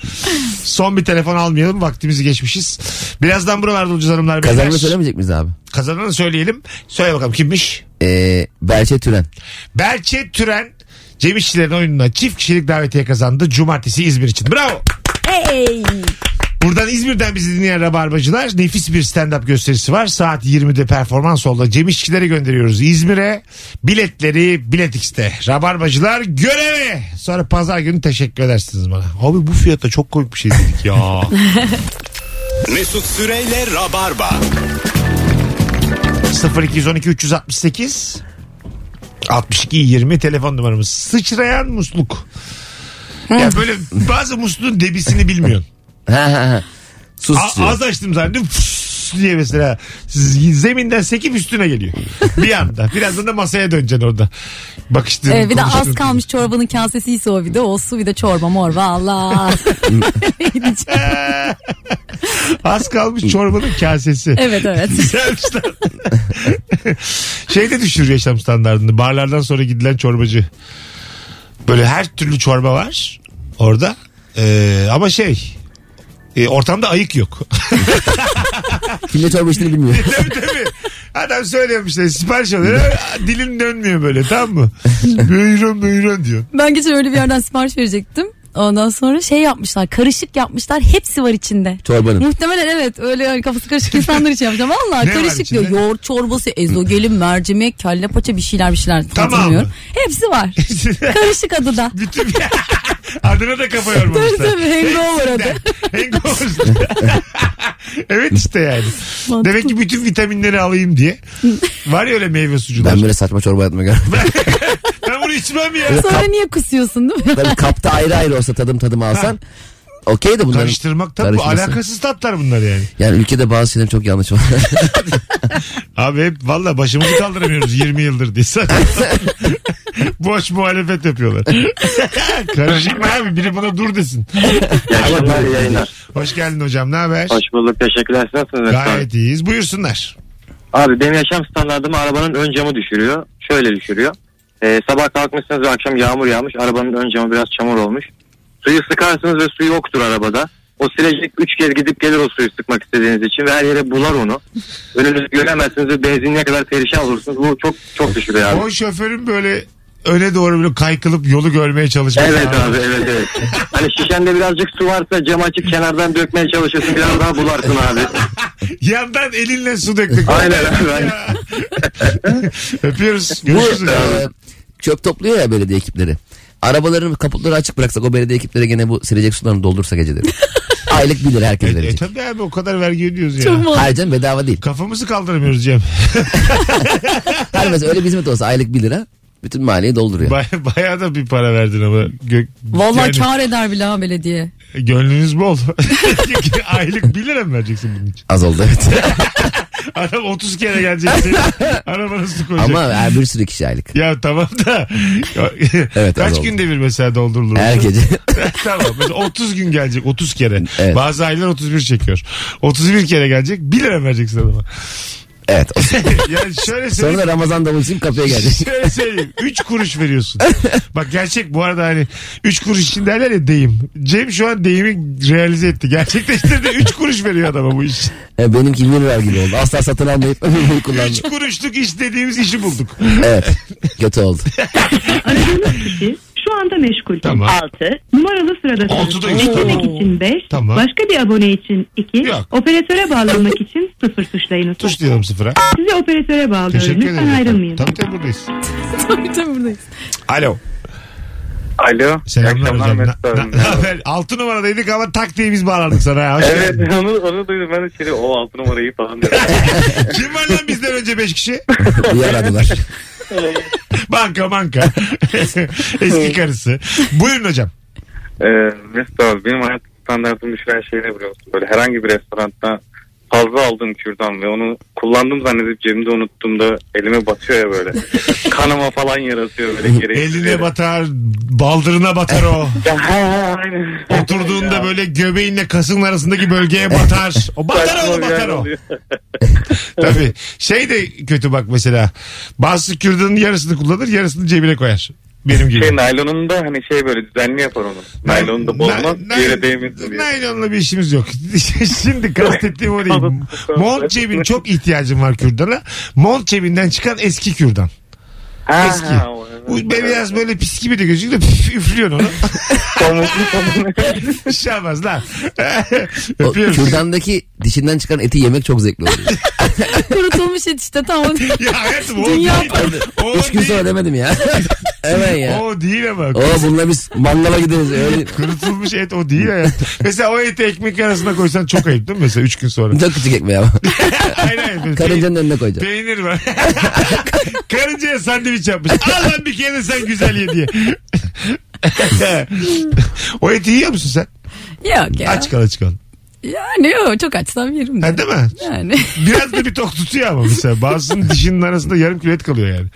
Speaker 3: Son bir telefon almayalım. Vaktimizi geçmişiz. Birazdan buralarda olacağız hanımlar. beyler.
Speaker 5: Kazanma söylemeyecek miyiz abi?
Speaker 3: Kazananı söyleyelim. Söyle bakalım kimmiş?
Speaker 5: Ee, Berçe Türen.
Speaker 3: Berçe Türen Cem İşçilerin oyununa çift kişilik davetiye kazandı. Cumartesi İzmir için. Bravo.
Speaker 4: Hey.
Speaker 3: Buradan İzmir'den bizi dinleyen rabarbacılar nefis bir stand-up gösterisi var. Saat 20'de performans oldu. Cem İşçilere gönderiyoruz İzmir'e. Biletleri Bilet X'te. Rabarbacılar göreve. Sonra pazar günü teşekkür edersiniz bana. Abi bu fiyata çok komik bir şey dedik ya.
Speaker 2: Mesut Süreyle Rabarba.
Speaker 3: 0212 368 62 20 telefon numaramız. Sıçrayan musluk. Ya böyle bazı musluğun debisini bilmiyorsun.
Speaker 5: Ha ha ha. Sus.
Speaker 3: A-
Speaker 5: diyor.
Speaker 3: az açtım zannettim fıs diye mesela z- zeminden sekip üstüne geliyor. Bir anda. Birazdan da masaya döneceksin orada. Bakıştığın.
Speaker 4: Ee, bir de az
Speaker 3: konuştuğun.
Speaker 4: kalmış çorbanın kasesiyse o bir de o su bir de çorba morba Allah.
Speaker 3: Az kalmış çorbanın kasesi.
Speaker 4: evet evet.
Speaker 3: Güzelmiş lan. şey de düşürüyor yaşam standartını. Barlardan sonra gidilen çorbacı. Böyle her türlü çorba var orada. Ee, ama şey e, ortamda ayık yok.
Speaker 5: Kimle çorba içtiğini bilmiyor.
Speaker 3: tabii tabii. Adam söylüyormuş işte sipariş alıyor. Dilim dönmüyor böyle tamam mı? Buyurun buyurun diyor.
Speaker 4: Ben geçen öyle bir yerden sipariş verecektim. Ondan sonra şey yapmışlar karışık yapmışlar hepsi var içinde.
Speaker 5: Çorbanın.
Speaker 4: Muhtemelen evet öyle yani kafası karışık insanlar için yapacağım. Valla
Speaker 3: Ne var
Speaker 4: karışık
Speaker 3: içinde?
Speaker 4: diyor. Yoğurt çorbası, ezogelin, mercimek, kelle paça bir şeyler bir şeyler
Speaker 3: Tamam mı?
Speaker 4: hatırlamıyorum. Hepsi var. karışık adı da.
Speaker 3: Bütün adına da kafa yormamışlar.
Speaker 4: Tabii tabii hangover adı.
Speaker 3: Hangover. evet işte yani.
Speaker 4: Mantıklı.
Speaker 3: Demek ki bütün vitaminleri alayım diye. Var ya öyle meyve sucular.
Speaker 5: Ben
Speaker 3: Ben,
Speaker 5: böyle saçma çorba yapma görmedim.
Speaker 3: bunu içmem ya.
Speaker 4: Sonra niye kusuyorsun değil mi?
Speaker 5: Tabii kapta ayrı ayrı olsa tadım tadım alsan. Okey de bunların.
Speaker 3: Karıştırmak tabii bu
Speaker 5: Karıştırması.
Speaker 3: alakasız tatlar bunlar yani.
Speaker 5: Yani ülkede bazı şeyler çok yanlış var.
Speaker 3: Abi hep valla başımızı kaldıramıyoruz 20 yıldır diye. Saçma sapan. Boş muhalefet yapıyorlar. Karışık mı abi? Biri buna dur desin.
Speaker 10: İyi akşamlar, iyi yayınlar.
Speaker 3: Hoş geldin hocam ne haber?
Speaker 10: Hoş bulduk, teşekkürler. Siz Nasılsınız?
Speaker 3: Gayet iyiyiz. Buyursunlar.
Speaker 10: Abi benim yaşam standartımı arabanın ön camı düşürüyor. Şöyle düşürüyor. Ee, sabah kalkmışsınız ve akşam yağmur yağmış. Arabanın ön camı biraz çamur olmuş. Suyu sıkarsınız ve su yoktur arabada. O silecek 3 kez gidip gelir o suyu sıkmak istediğiniz için ve her yere bular onu. Önünüzü göremezsiniz ve benzin ne kadar perişan olursunuz. Bu çok çok düşürüyor abi.
Speaker 3: O şoförün böyle öne doğru böyle kaykılıp yolu görmeye çalışması.
Speaker 10: Evet abi evet evet. Hani şişende birazcık su varsa cam açık kenardan dökmeye çalışıyorsun biraz daha bularsın abi.
Speaker 3: Yandan elinle su döktük.
Speaker 10: Aynen abi. aynen.
Speaker 3: Ya. Öpüyoruz.
Speaker 5: Bu
Speaker 3: Görüşürüz.
Speaker 5: e, çöp topluyor ya belediye ekipleri. Arabaların kaputları açık bıraksak o belediye ekipleri gene bu silecek sularını doldursa geceleri. Aylık 1 lira
Speaker 3: E,
Speaker 5: herkes
Speaker 3: e,
Speaker 5: verecek.
Speaker 3: tabii abi o kadar vergi ödüyoruz ya.
Speaker 4: Çok mu?
Speaker 5: Hayır canım bedava değil.
Speaker 3: Kafamızı kaldıramıyoruz Cem.
Speaker 5: Her mesela öyle bir hizmet olsa aylık 1 lira. Bütün mahalleyi dolduruyor.
Speaker 3: Baya- bayağı da bir para verdin ama. Gö-
Speaker 4: Vallahi
Speaker 3: yani
Speaker 4: kar eder bile ha belediye.
Speaker 3: Gönlünüz bol. Aylık 1 lira mı vereceksin bunun için?
Speaker 5: Az oldu evet.
Speaker 3: Adam 30 kere gelecek senin. Arabana su koyacak.
Speaker 5: Ama yani bir sürü kişi aylık.
Speaker 3: Ya tamam da.
Speaker 5: Evet, az
Speaker 3: Kaç
Speaker 5: oldu.
Speaker 3: günde bir mesela doldurulur?
Speaker 5: Her gece.
Speaker 3: tamam. Mesela 30 gün gelecek 30 kere.
Speaker 5: Evet.
Speaker 3: Bazı aileler 31 çekiyor. 31 kere gelecek 1 lira vereceksin adama.
Speaker 5: evet.
Speaker 3: Yani şöyle
Speaker 5: Sonra
Speaker 3: söyleyeyim.
Speaker 5: da Ramazan davulcuyum kapıya gelecek.
Speaker 3: Şöyle söyleyeyim. 3 kuruş veriyorsun. Bak gerçek bu arada hani 3 kuruş için derler ya deyim. Cem şu an deyimi realize etti. Gerçekleştirdi 3 kuruş veriyor adama bu iş.
Speaker 5: E, Benimki 20 lira gibi oldu. Asla satın almayıp ömrümü
Speaker 3: 3
Speaker 5: kullandım.
Speaker 3: kuruşluk iş dediğimiz işi bulduk.
Speaker 5: Evet. Kötü oldu.
Speaker 6: Aradığınız kişi şu anda meşgul.
Speaker 3: Tamam.
Speaker 6: 6. Numaralı sırada.
Speaker 3: Altıda üç,
Speaker 6: Beklemek
Speaker 3: tamam.
Speaker 6: için 5.
Speaker 3: Tamam.
Speaker 6: Başka bir abone için 2.
Speaker 3: Yok.
Speaker 6: Operatöre bağlanmak için 0 tuşlayınız.
Speaker 3: Tuş diyorum sıfıra.
Speaker 6: Sizi operatöre bağlıyorum.
Speaker 3: Teşekkür ederim.
Speaker 6: Lütfen ayrılmayın.
Speaker 3: Tabii tabii buradayız.
Speaker 4: Tabii tabii buradayız.
Speaker 3: Alo.
Speaker 8: Alo. İyi
Speaker 3: Selamlar
Speaker 8: akşamlar
Speaker 3: hocam.
Speaker 8: Mesut
Speaker 3: Na-
Speaker 8: abi.
Speaker 3: na- ne haber? 6 numaradaydık ama tak diye biz bağlardık sana. ya. Hoş geldin.
Speaker 8: Evet onu, onu duydum ben de içeri o altı numarayı falan dedim.
Speaker 3: Kim var lan bizden önce 5 kişi?
Speaker 5: Bir aradılar.
Speaker 3: Banka banka. Eski karısı. Buyurun hocam.
Speaker 8: Ee, Mesut abi benim hayat standartımı düşüren şey ne biliyor musun? Böyle herhangi bir restoranda fazla aldığım kürdan ve onu kullandım zannedip cebimde unuttuğumda elime batıyor ya böyle. Kanama falan yaratıyor böyle gereksiz
Speaker 3: Eline
Speaker 8: yere.
Speaker 3: batar, baldırına batar o.
Speaker 8: Ya, ha, ha, aynen.
Speaker 3: Oturduğunda böyle göbeğinle kasın arasındaki bölgeye batar. O batar
Speaker 8: Saçma
Speaker 3: o
Speaker 8: bir
Speaker 3: batar
Speaker 8: yer
Speaker 3: o.
Speaker 8: oluyor.
Speaker 3: Tabii. Şey de kötü bak mesela. Bazı kürdanın yarısını kullanır yarısını cebine koyar. Benim gibi.
Speaker 8: Şey naylonunu da hani şey böyle düzenli yapar onu. Naylonu da bozmaz
Speaker 3: Na-
Speaker 8: bir yere değmesin diye.
Speaker 3: Naylonla bir işimiz yok. Şimdi kastettiğim o değil.
Speaker 8: Anladım.
Speaker 3: Mont cebin çok ihtiyacım var kürdana. Mont cebinden çıkan eski kürdan.
Speaker 8: Ha,
Speaker 3: Eski.
Speaker 8: ha, o-
Speaker 3: Bu beyaz böyle pis gibi de gözüküyor. da püf, Üflüyorsun onu.
Speaker 8: Pamuklu pamuklu.
Speaker 3: Şamaz lan.
Speaker 5: O
Speaker 3: Öpüyorum.
Speaker 5: kürdandaki dişinden çıkan eti yemek çok zevkli oluyor.
Speaker 4: Kurutulmuş et işte tamam.
Speaker 3: Ya hayatım o
Speaker 4: Dünya
Speaker 3: değil. O
Speaker 5: Üç gün
Speaker 3: değil.
Speaker 5: sonra demedim ya. Hemen ya.
Speaker 3: O değil ama.
Speaker 5: O bununla biz mangala gidiyoruz. Öyle...
Speaker 3: Kurutulmuş et o değil hayatım. Mesela o eti ekmek arasına koysan çok ayıp değil mi? Mesela üç gün sonra.
Speaker 5: Çok küçük ekmeği ama.
Speaker 3: hayır hayır.
Speaker 5: Karıncanın önüne koyacağım.
Speaker 3: Peynir var. Karıncaya sandviç yapmış. Al lan bir kere de sen güzel ye diye. o eti yiyor musun sen?
Speaker 4: Yok ya.
Speaker 3: Aç kal aç kal.
Speaker 4: Yani yok çok açsam yerim
Speaker 3: Ha,
Speaker 4: de.
Speaker 3: değil mi?
Speaker 4: Yani
Speaker 3: Biraz da bir tok tutuyor ama mesela. Bazısının dişinin arasında yarım kilo et kalıyor yani.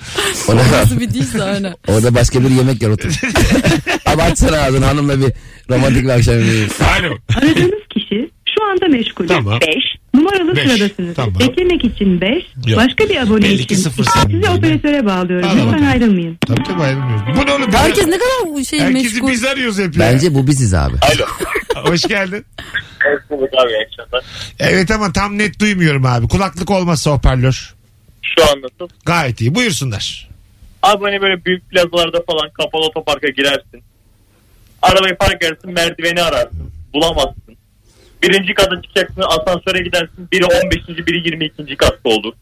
Speaker 5: Ona,
Speaker 4: nasıl bir değilse öyle.
Speaker 5: orada başka bir yemek yaratır. Abartsana ağzını hanımla bir romantik bir akşam yemeği.
Speaker 3: Alo.
Speaker 6: Aradığınız kişi şu anda meşgul.
Speaker 3: Tamam.
Speaker 6: 5. Numaralı
Speaker 3: Beş.
Speaker 6: sıradasınız.
Speaker 3: Tamam.
Speaker 6: Beklemek için 5.
Speaker 3: Yok.
Speaker 6: Başka bir abone
Speaker 3: Belli ki
Speaker 6: için.
Speaker 3: sıfır
Speaker 6: Sizi
Speaker 3: sandım.
Speaker 6: operatöre bağlıyorum.
Speaker 3: Bağla
Speaker 6: Lütfen
Speaker 3: bakalım.
Speaker 6: ayrılmayın.
Speaker 3: Tabii tabii ayrılmıyoruz. Bu ne oğlum?
Speaker 4: Herkes ne kadar şey
Speaker 3: Herkesi
Speaker 4: meşgul.
Speaker 3: biz arıyoruz hep ya.
Speaker 5: Bence bu biziz abi.
Speaker 3: Hoş geldin.
Speaker 8: Evet, bulduk abi, iyi akşamlar.
Speaker 3: Evet ama tam net duymuyorum abi. Kulaklık olmazsa hoparlör.
Speaker 8: Şu an nasıl?
Speaker 3: Gayet iyi. Buyursunlar.
Speaker 8: Abi hani böyle büyük plazalarda falan kapalı otoparka girersin. Arabayı park edersin merdiveni ararsın. Bulamazsın. Birinci kata çıkacaksın asansöre gidersin. Biri 15. biri 22. katta olur.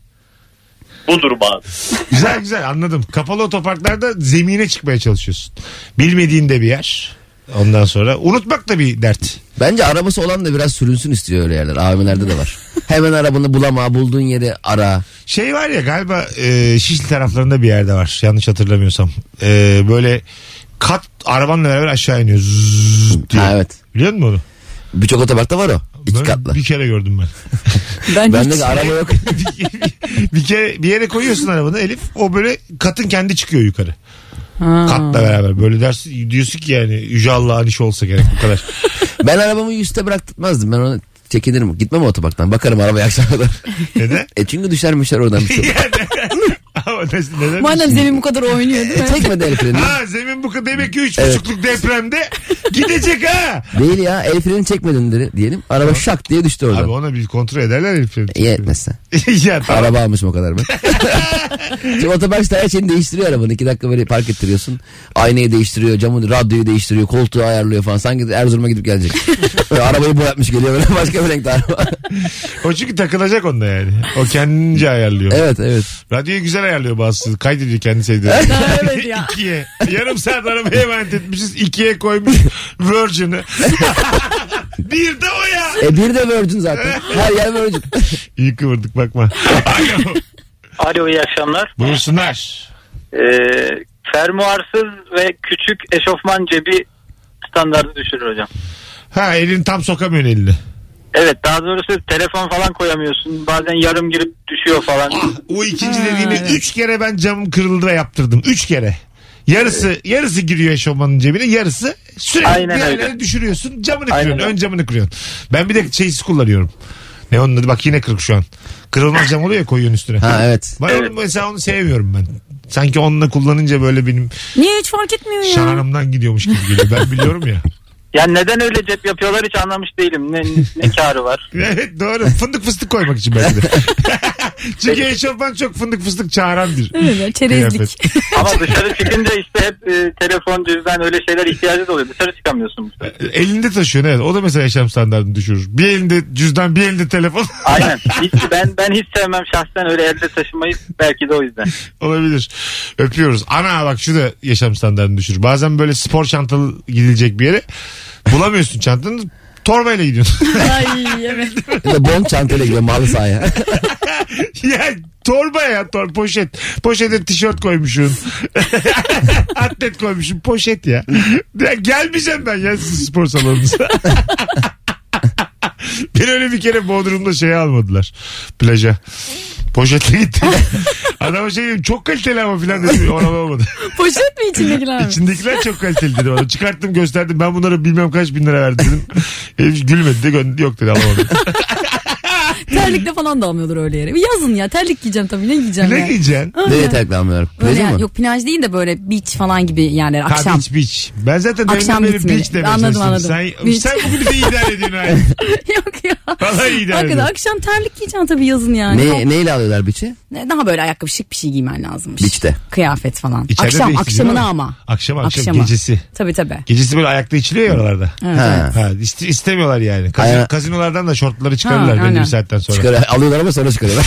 Speaker 8: Bu durum abi.
Speaker 3: Güzel güzel anladım. Kapalı otoparklarda zemine çıkmaya çalışıyorsun. Bilmediğin de bir yer. Ondan sonra unutmak da bir dert.
Speaker 5: Bence arabası olan da biraz sürünsün istiyor öyle yerler. AVM'lerde de var. Hemen arabanı bulama, bulduğun yeri ara.
Speaker 3: Şey var ya galiba e, Şişli taraflarında bir yerde var. Yanlış hatırlamıyorsam. E, böyle kat arabanla beraber aşağı iniyor. Zzzz diye.
Speaker 5: Ha, evet.
Speaker 3: Biliyor musun onu?
Speaker 5: Birçok otoparkta var o. İki
Speaker 3: Ben
Speaker 5: katlı.
Speaker 3: Bir kere gördüm ben.
Speaker 4: Ben,
Speaker 5: Bende
Speaker 4: hiç-
Speaker 5: de araba yok.
Speaker 3: bir, bir kere bir yere koyuyorsun arabanı Elif. O böyle katın kendi çıkıyor yukarı.
Speaker 4: Ha.
Speaker 3: Katla beraber. Böyle dersin diyorsun ki yani Yüce Allah'ın işi olsa gerek bu kadar.
Speaker 5: Ben arabamı üstte bıraktırmazdım. Ben ona çekinirim. Gitmem otoparktan. Bakarım arabaya akşam kadar.
Speaker 3: Neden?
Speaker 5: e çünkü düşermişler oradan bir şey.
Speaker 3: Ama nasıl- neden?
Speaker 4: Madem zemin bu kadar oynuyor değil mi?
Speaker 5: Tekme E, de el freni.
Speaker 3: Ha zemin bu kadar demek ki üç
Speaker 5: Evet.
Speaker 3: buçukluk depremde gidecek ha.
Speaker 5: Değil ya el freni çekmedin dedi- diyelim. Araba şak diye düştü
Speaker 3: Abi
Speaker 5: oradan.
Speaker 3: ona bir kontrol ederler Elif'in.
Speaker 5: İyi etmezse.
Speaker 3: ya tamam.
Speaker 5: Araba almışım o kadar ben. Şimdi otoparkta her şeyini değiştiriyor arabanı. İki dakika böyle park ettiriyorsun. Aynayı değiştiriyor, camı, radyoyu değiştiriyor, koltuğu ayarlıyor falan. Sanki Erzurum'a gidip gelecek. Böyle arabayı boyatmış geliyor böyle başka bir renkte araba.
Speaker 3: O çünkü takılacak onda yani. O kendince ayarlıyor.
Speaker 5: evet evet.
Speaker 3: Radyoyu güzel ayarlıyor bazısı. Kaydediyor kendi sevdiği.
Speaker 4: evet ya.
Speaker 3: İkiye. Yarım saat arabaya emanet etmişiz. İkiye koymuş Virgin'ı. bir de o ya.
Speaker 5: E bir de Virgin zaten. Her yer Virgin.
Speaker 3: İyi kıvırdık bakma. Alo.
Speaker 8: Alo iyi akşamlar.
Speaker 3: Buyursunlar.
Speaker 8: Ee,
Speaker 10: Fermuarsız ve küçük eşofman cebi standartı düşürür hocam.
Speaker 3: Ha elini tam sokamıyorsun elini.
Speaker 10: Evet daha doğrusu telefon falan koyamıyorsun. Bazen yarım girip düşüyor falan.
Speaker 3: O ikinci dediğini üç kere ben camım kırıldı ve yaptırdım. Üç kere. Yarısı yarısı giriyor eşofmanın cebine yarısı sürekli
Speaker 10: Aynen
Speaker 3: bir
Speaker 10: öyle.
Speaker 3: yerlere düşürüyorsun camını
Speaker 10: Aynen
Speaker 3: kırıyorsun
Speaker 10: öyle.
Speaker 3: ön camını kırıyorsun. Ben bir de şeysiz kullanıyorum. Ne onun adı bak yine kırık şu an. Kırılmaz cam oluyor ya koyuyorsun üstüne.
Speaker 5: Ha evet.
Speaker 3: Ben
Speaker 10: Evet.
Speaker 3: onu mesela onu sevmiyorum ben. Sanki onunla kullanınca böyle benim
Speaker 4: Niye hiç fark etmiyor ya?
Speaker 3: şanımdan gidiyormuş gibi geliyor. Ben biliyorum ya.
Speaker 10: Yani neden öyle cep yapıyorlar hiç anlamış değilim. Ne, ne karı var?
Speaker 3: Evet doğru. Fındık fıstık koymak için belki de. Çünkü eşofman çok fındık fıstık çağıran bir
Speaker 4: Öyle çerezlik.
Speaker 3: kıyafet.
Speaker 10: Ama dışarı çıkınca işte hep e, telefon, cüzdan öyle şeyler ihtiyacı da oluyor. Dışarı çıkamıyorsun.
Speaker 3: Elinde taşıyorsun evet. O da mesela yaşam standartını düşürür. Bir elinde cüzdan bir elinde telefon
Speaker 10: Aynen. Hiç, ben ben hiç sevmem şahsen öyle elde taşımayı. Belki de o yüzden.
Speaker 3: olabilir. Öpüyoruz. Ana bak şu da yaşam standartını düşürür. Bazen böyle spor çantalı gidilecek bir yere bulamıyorsun çantanı. Torbayla gidiyorsun.
Speaker 4: Ay evet.
Speaker 5: Ya da bon çantayla gidiyor malı sahaya.
Speaker 3: ya torba ya tor poşet. Poşete tişört koymuşsun. Atlet koymuşsun poşet ya. ya gelmeyeceğim ben ya sizin spor salonunuza. Beni öyle bir kere Bodrum'da şey almadılar. Plaja. Poşetle gittim. Adama şey dedim çok kaliteli ama filan dedim. Ona olmadı.
Speaker 4: Poşet mi içindekiler mi?
Speaker 3: İçindekiler çok kaliteli dedi bana. Çıkarttım gösterdim. Ben bunlara bilmem kaç bin lira verdim dedim. Herif gülmedi de gö- yok dedi alamadım.
Speaker 4: Terlikle falan da almıyordur öyle yere. Yazın ya terlik giyeceğim tabii ne giyeceğim
Speaker 3: ne
Speaker 4: ya.
Speaker 3: giyeceksin?
Speaker 5: Nereye taklanmıyorum?
Speaker 4: Öyle
Speaker 5: Plajı
Speaker 4: yani,
Speaker 5: mı?
Speaker 4: yok plaj değil de böyle beach falan gibi yerler akşam.
Speaker 3: Akşam. Beach beach. Ben zaten
Speaker 4: Akşam
Speaker 3: deminden beri
Speaker 4: gitmeli.
Speaker 3: beach demeye
Speaker 4: Anladım,
Speaker 3: çalıştım.
Speaker 4: anladım.
Speaker 3: Sen,
Speaker 4: Beach.
Speaker 3: sen bugün de idare ediyorsun ha.
Speaker 4: Yok ya.
Speaker 3: Vallahi iyi idare
Speaker 4: Hakikaten
Speaker 3: ediyorsun.
Speaker 4: akşam terlik giyeceksin tabii yazın yani.
Speaker 5: Ne, neyle alıyorlar biçi?
Speaker 4: Ne- Daha böyle ayakkabı şık bir şey giymen lazımmış.
Speaker 5: Beach'te.
Speaker 4: Kıyafet falan.
Speaker 3: İçeride de
Speaker 4: akşam
Speaker 3: içiliyor
Speaker 4: akşamına
Speaker 3: ama.
Speaker 4: ama.
Speaker 3: Akşam akşam
Speaker 4: Akşama.
Speaker 3: gecesi.
Speaker 4: Tabii tabii.
Speaker 3: Gecesi böyle ayakta içiliyor ya oralarda.
Speaker 4: Evet,
Speaker 5: Ha.
Speaker 3: Ha, iste- istemiyorlar yani. Kazin-
Speaker 5: Aynen.
Speaker 3: kazinolardan da şortları çıkarırlar
Speaker 4: Ha,
Speaker 3: belli bir
Speaker 4: aynen.
Speaker 3: saatten sonra.
Speaker 5: Çıkar, alıyorlar ama sonra çıkarıyorlar.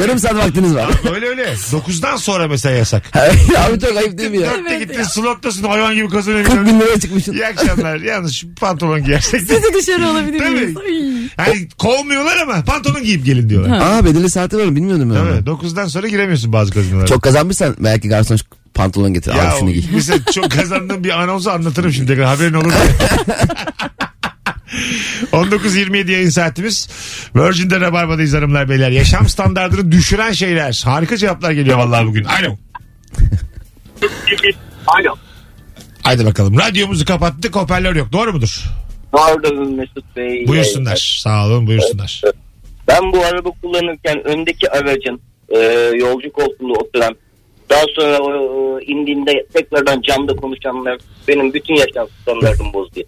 Speaker 5: Yarım saat vaktiniz var.
Speaker 3: Öyle öyle. 9'dan sonra mesela yasak.
Speaker 5: Abi çok ayıp değil mi ya?
Speaker 3: Dörtte gittin slottasın hayvan gibi kazanıyor.
Speaker 5: 40 bin liraya çıkmışsın.
Speaker 3: İyi akşamlar. Yalnız şu pantolon giyersek de.
Speaker 4: Sizi dışarı alabilir miyiz?
Speaker 3: Tabii.
Speaker 4: Ay.
Speaker 3: Hani kovmuyorlar ama pantolon giyip gelin diyorlar.
Speaker 5: Aa bedeli saati var bilmiyordum ben.
Speaker 3: Değil
Speaker 5: onu.
Speaker 3: mi? 9'dan sonra giremiyorsun bazı kazinolara.
Speaker 5: Çok kazanmışsan belki garson şu pantolon getir.
Speaker 3: Ya
Speaker 5: Al şunu giy.
Speaker 3: mesela çok kazandığım bir anonsu anlatırım şimdi. tekrar. Haberin olur. 19.27 yayın saatimiz. Virgin'de Rabarba'dayız hanımlar beyler. Yaşam standartını düşüren şeyler. Harika cevaplar geliyor vallahi bugün. Alo.
Speaker 8: Alo.
Speaker 3: Haydi bakalım. Radyomuzu kapattık. Hoparlör yok. Doğru mudur?
Speaker 8: Pardon Mesut Bey.
Speaker 3: Buyursunlar. Sağ olun buyursunlar.
Speaker 8: Ben bu araba kullanırken öndeki aracın e, yolcu koltuğunda oturan daha sonra o, e, indiğinde tekrardan camda konuşanlar benim bütün yaşam standartımı bozdu.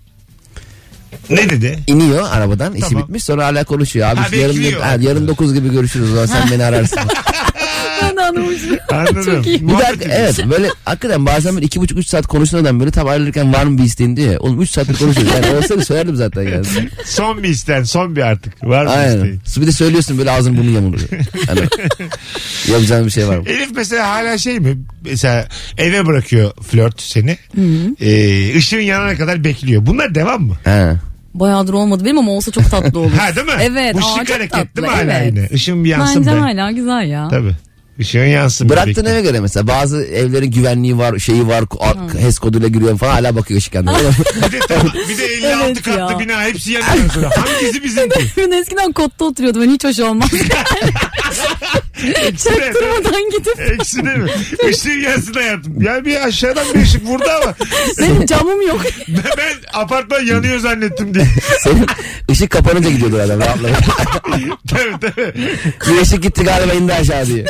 Speaker 3: Ne dedi?
Speaker 5: İniyor arabadan işi
Speaker 3: Tamam.
Speaker 5: bitmiş sonra hala konuşuyor. Abi
Speaker 3: Ha,
Speaker 5: işte yarın,
Speaker 3: bekliyor.
Speaker 5: ha, yarın 9 gibi görüşürüz o zaman sen beni ararsın.
Speaker 4: Ben de anlamıştım.
Speaker 3: Anladım.
Speaker 4: Çok iyi.
Speaker 5: bir de
Speaker 3: Muhabbet
Speaker 5: hakik- evet böyle hakikaten bazen böyle 2,5-3 saat konuşan adam böyle tam ayrılırken var mı bir isteğin diyor ya. Oğlum 3 saattir konuşuyoruz. Yani olsaydı söylerdim zaten yani.
Speaker 3: Son bir isten. Son bir artık. Var mı
Speaker 5: Aynen.
Speaker 3: isteğin?
Speaker 5: Bir de söylüyorsun böyle ağzın burnun yamuluyor. Yani, yapacağın bir şey var mı?
Speaker 3: Elif mesela hala şey mi? Mesela eve bırakıyor flört seni. Ee, ışığın yanana kadar bekliyor. Bunlar devam mı?
Speaker 5: He.
Speaker 4: Bayağıdır olmadı benim ama olsa çok tatlı olur.
Speaker 3: Ha değil mi?
Speaker 4: Evet.
Speaker 3: Bu
Speaker 4: aa,
Speaker 3: şık
Speaker 4: çok
Speaker 3: hareket
Speaker 4: tatlı,
Speaker 3: değil mi hala
Speaker 4: evet.
Speaker 3: yine? Işığın bir yansın
Speaker 4: Bence
Speaker 3: be.
Speaker 4: hala güzel ya.
Speaker 3: Tabii. Işığın yansın. be.
Speaker 5: Bıraktığın
Speaker 3: Bekle.
Speaker 5: eve göre mesela bazı evlerin güvenliği var, şeyi var, ar- HES koduyla giriyor falan hala bakıyor ışık yanına.
Speaker 3: Bir de, tamam, bir de 56
Speaker 4: Evet
Speaker 3: katlı
Speaker 4: ya.
Speaker 3: bina hepsi yanıyor sonra. Hangisi bizimki?
Speaker 4: Ben eskiden kotta oturuyordum. Ben hiç hoş olmaz. Çaktırmadan gidip
Speaker 3: Eksi değil mi? Işığın yansın hayatım. Ya bir aşağıdan bir ışık vurdu ama
Speaker 4: benim camım yok.
Speaker 3: ben, ben apartman yanıyor zannettim diye.
Speaker 5: Senin ışık kapanınca gidiyordur adam rahatlamıyor.
Speaker 3: tabii tabii.
Speaker 5: bir ışık gitti galiba indi aşağı diye.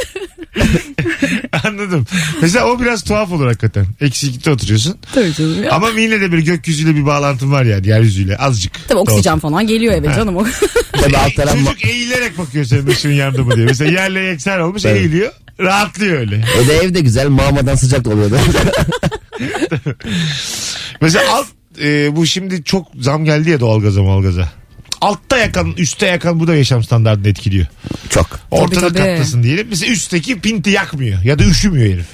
Speaker 3: Anladım. Mesela o biraz tuhaf olur hakikaten. Eksi ikide oturuyorsun.
Speaker 4: Tabii canım ya.
Speaker 3: Ama yine de bir gökyüzüyle bir bağlantın var yani yeryüzüyle azıcık.
Speaker 4: Tabii oksijen falan geliyor eve canım. o.
Speaker 5: Tabii alt taraf
Speaker 3: Çocuk eğilerek bakıyor senin ışığın yandı mı diye. Mesela yerle yeksen olmuş
Speaker 5: Evet.
Speaker 3: eğiliyor. Rahatlıyor öyle.
Speaker 5: E de ev de güzel mağmadan sıcak da oluyordu.
Speaker 3: Mesela alt e, bu şimdi çok zam geldi ya doğalgaza malgaza. Altta yakan, üstte yakan bu da yaşam standartını etkiliyor.
Speaker 5: Çok.
Speaker 3: Ortada
Speaker 4: tabii.
Speaker 3: katlasın diyelim. Mesela üstteki pinti yakmıyor ya da üşümüyor herif.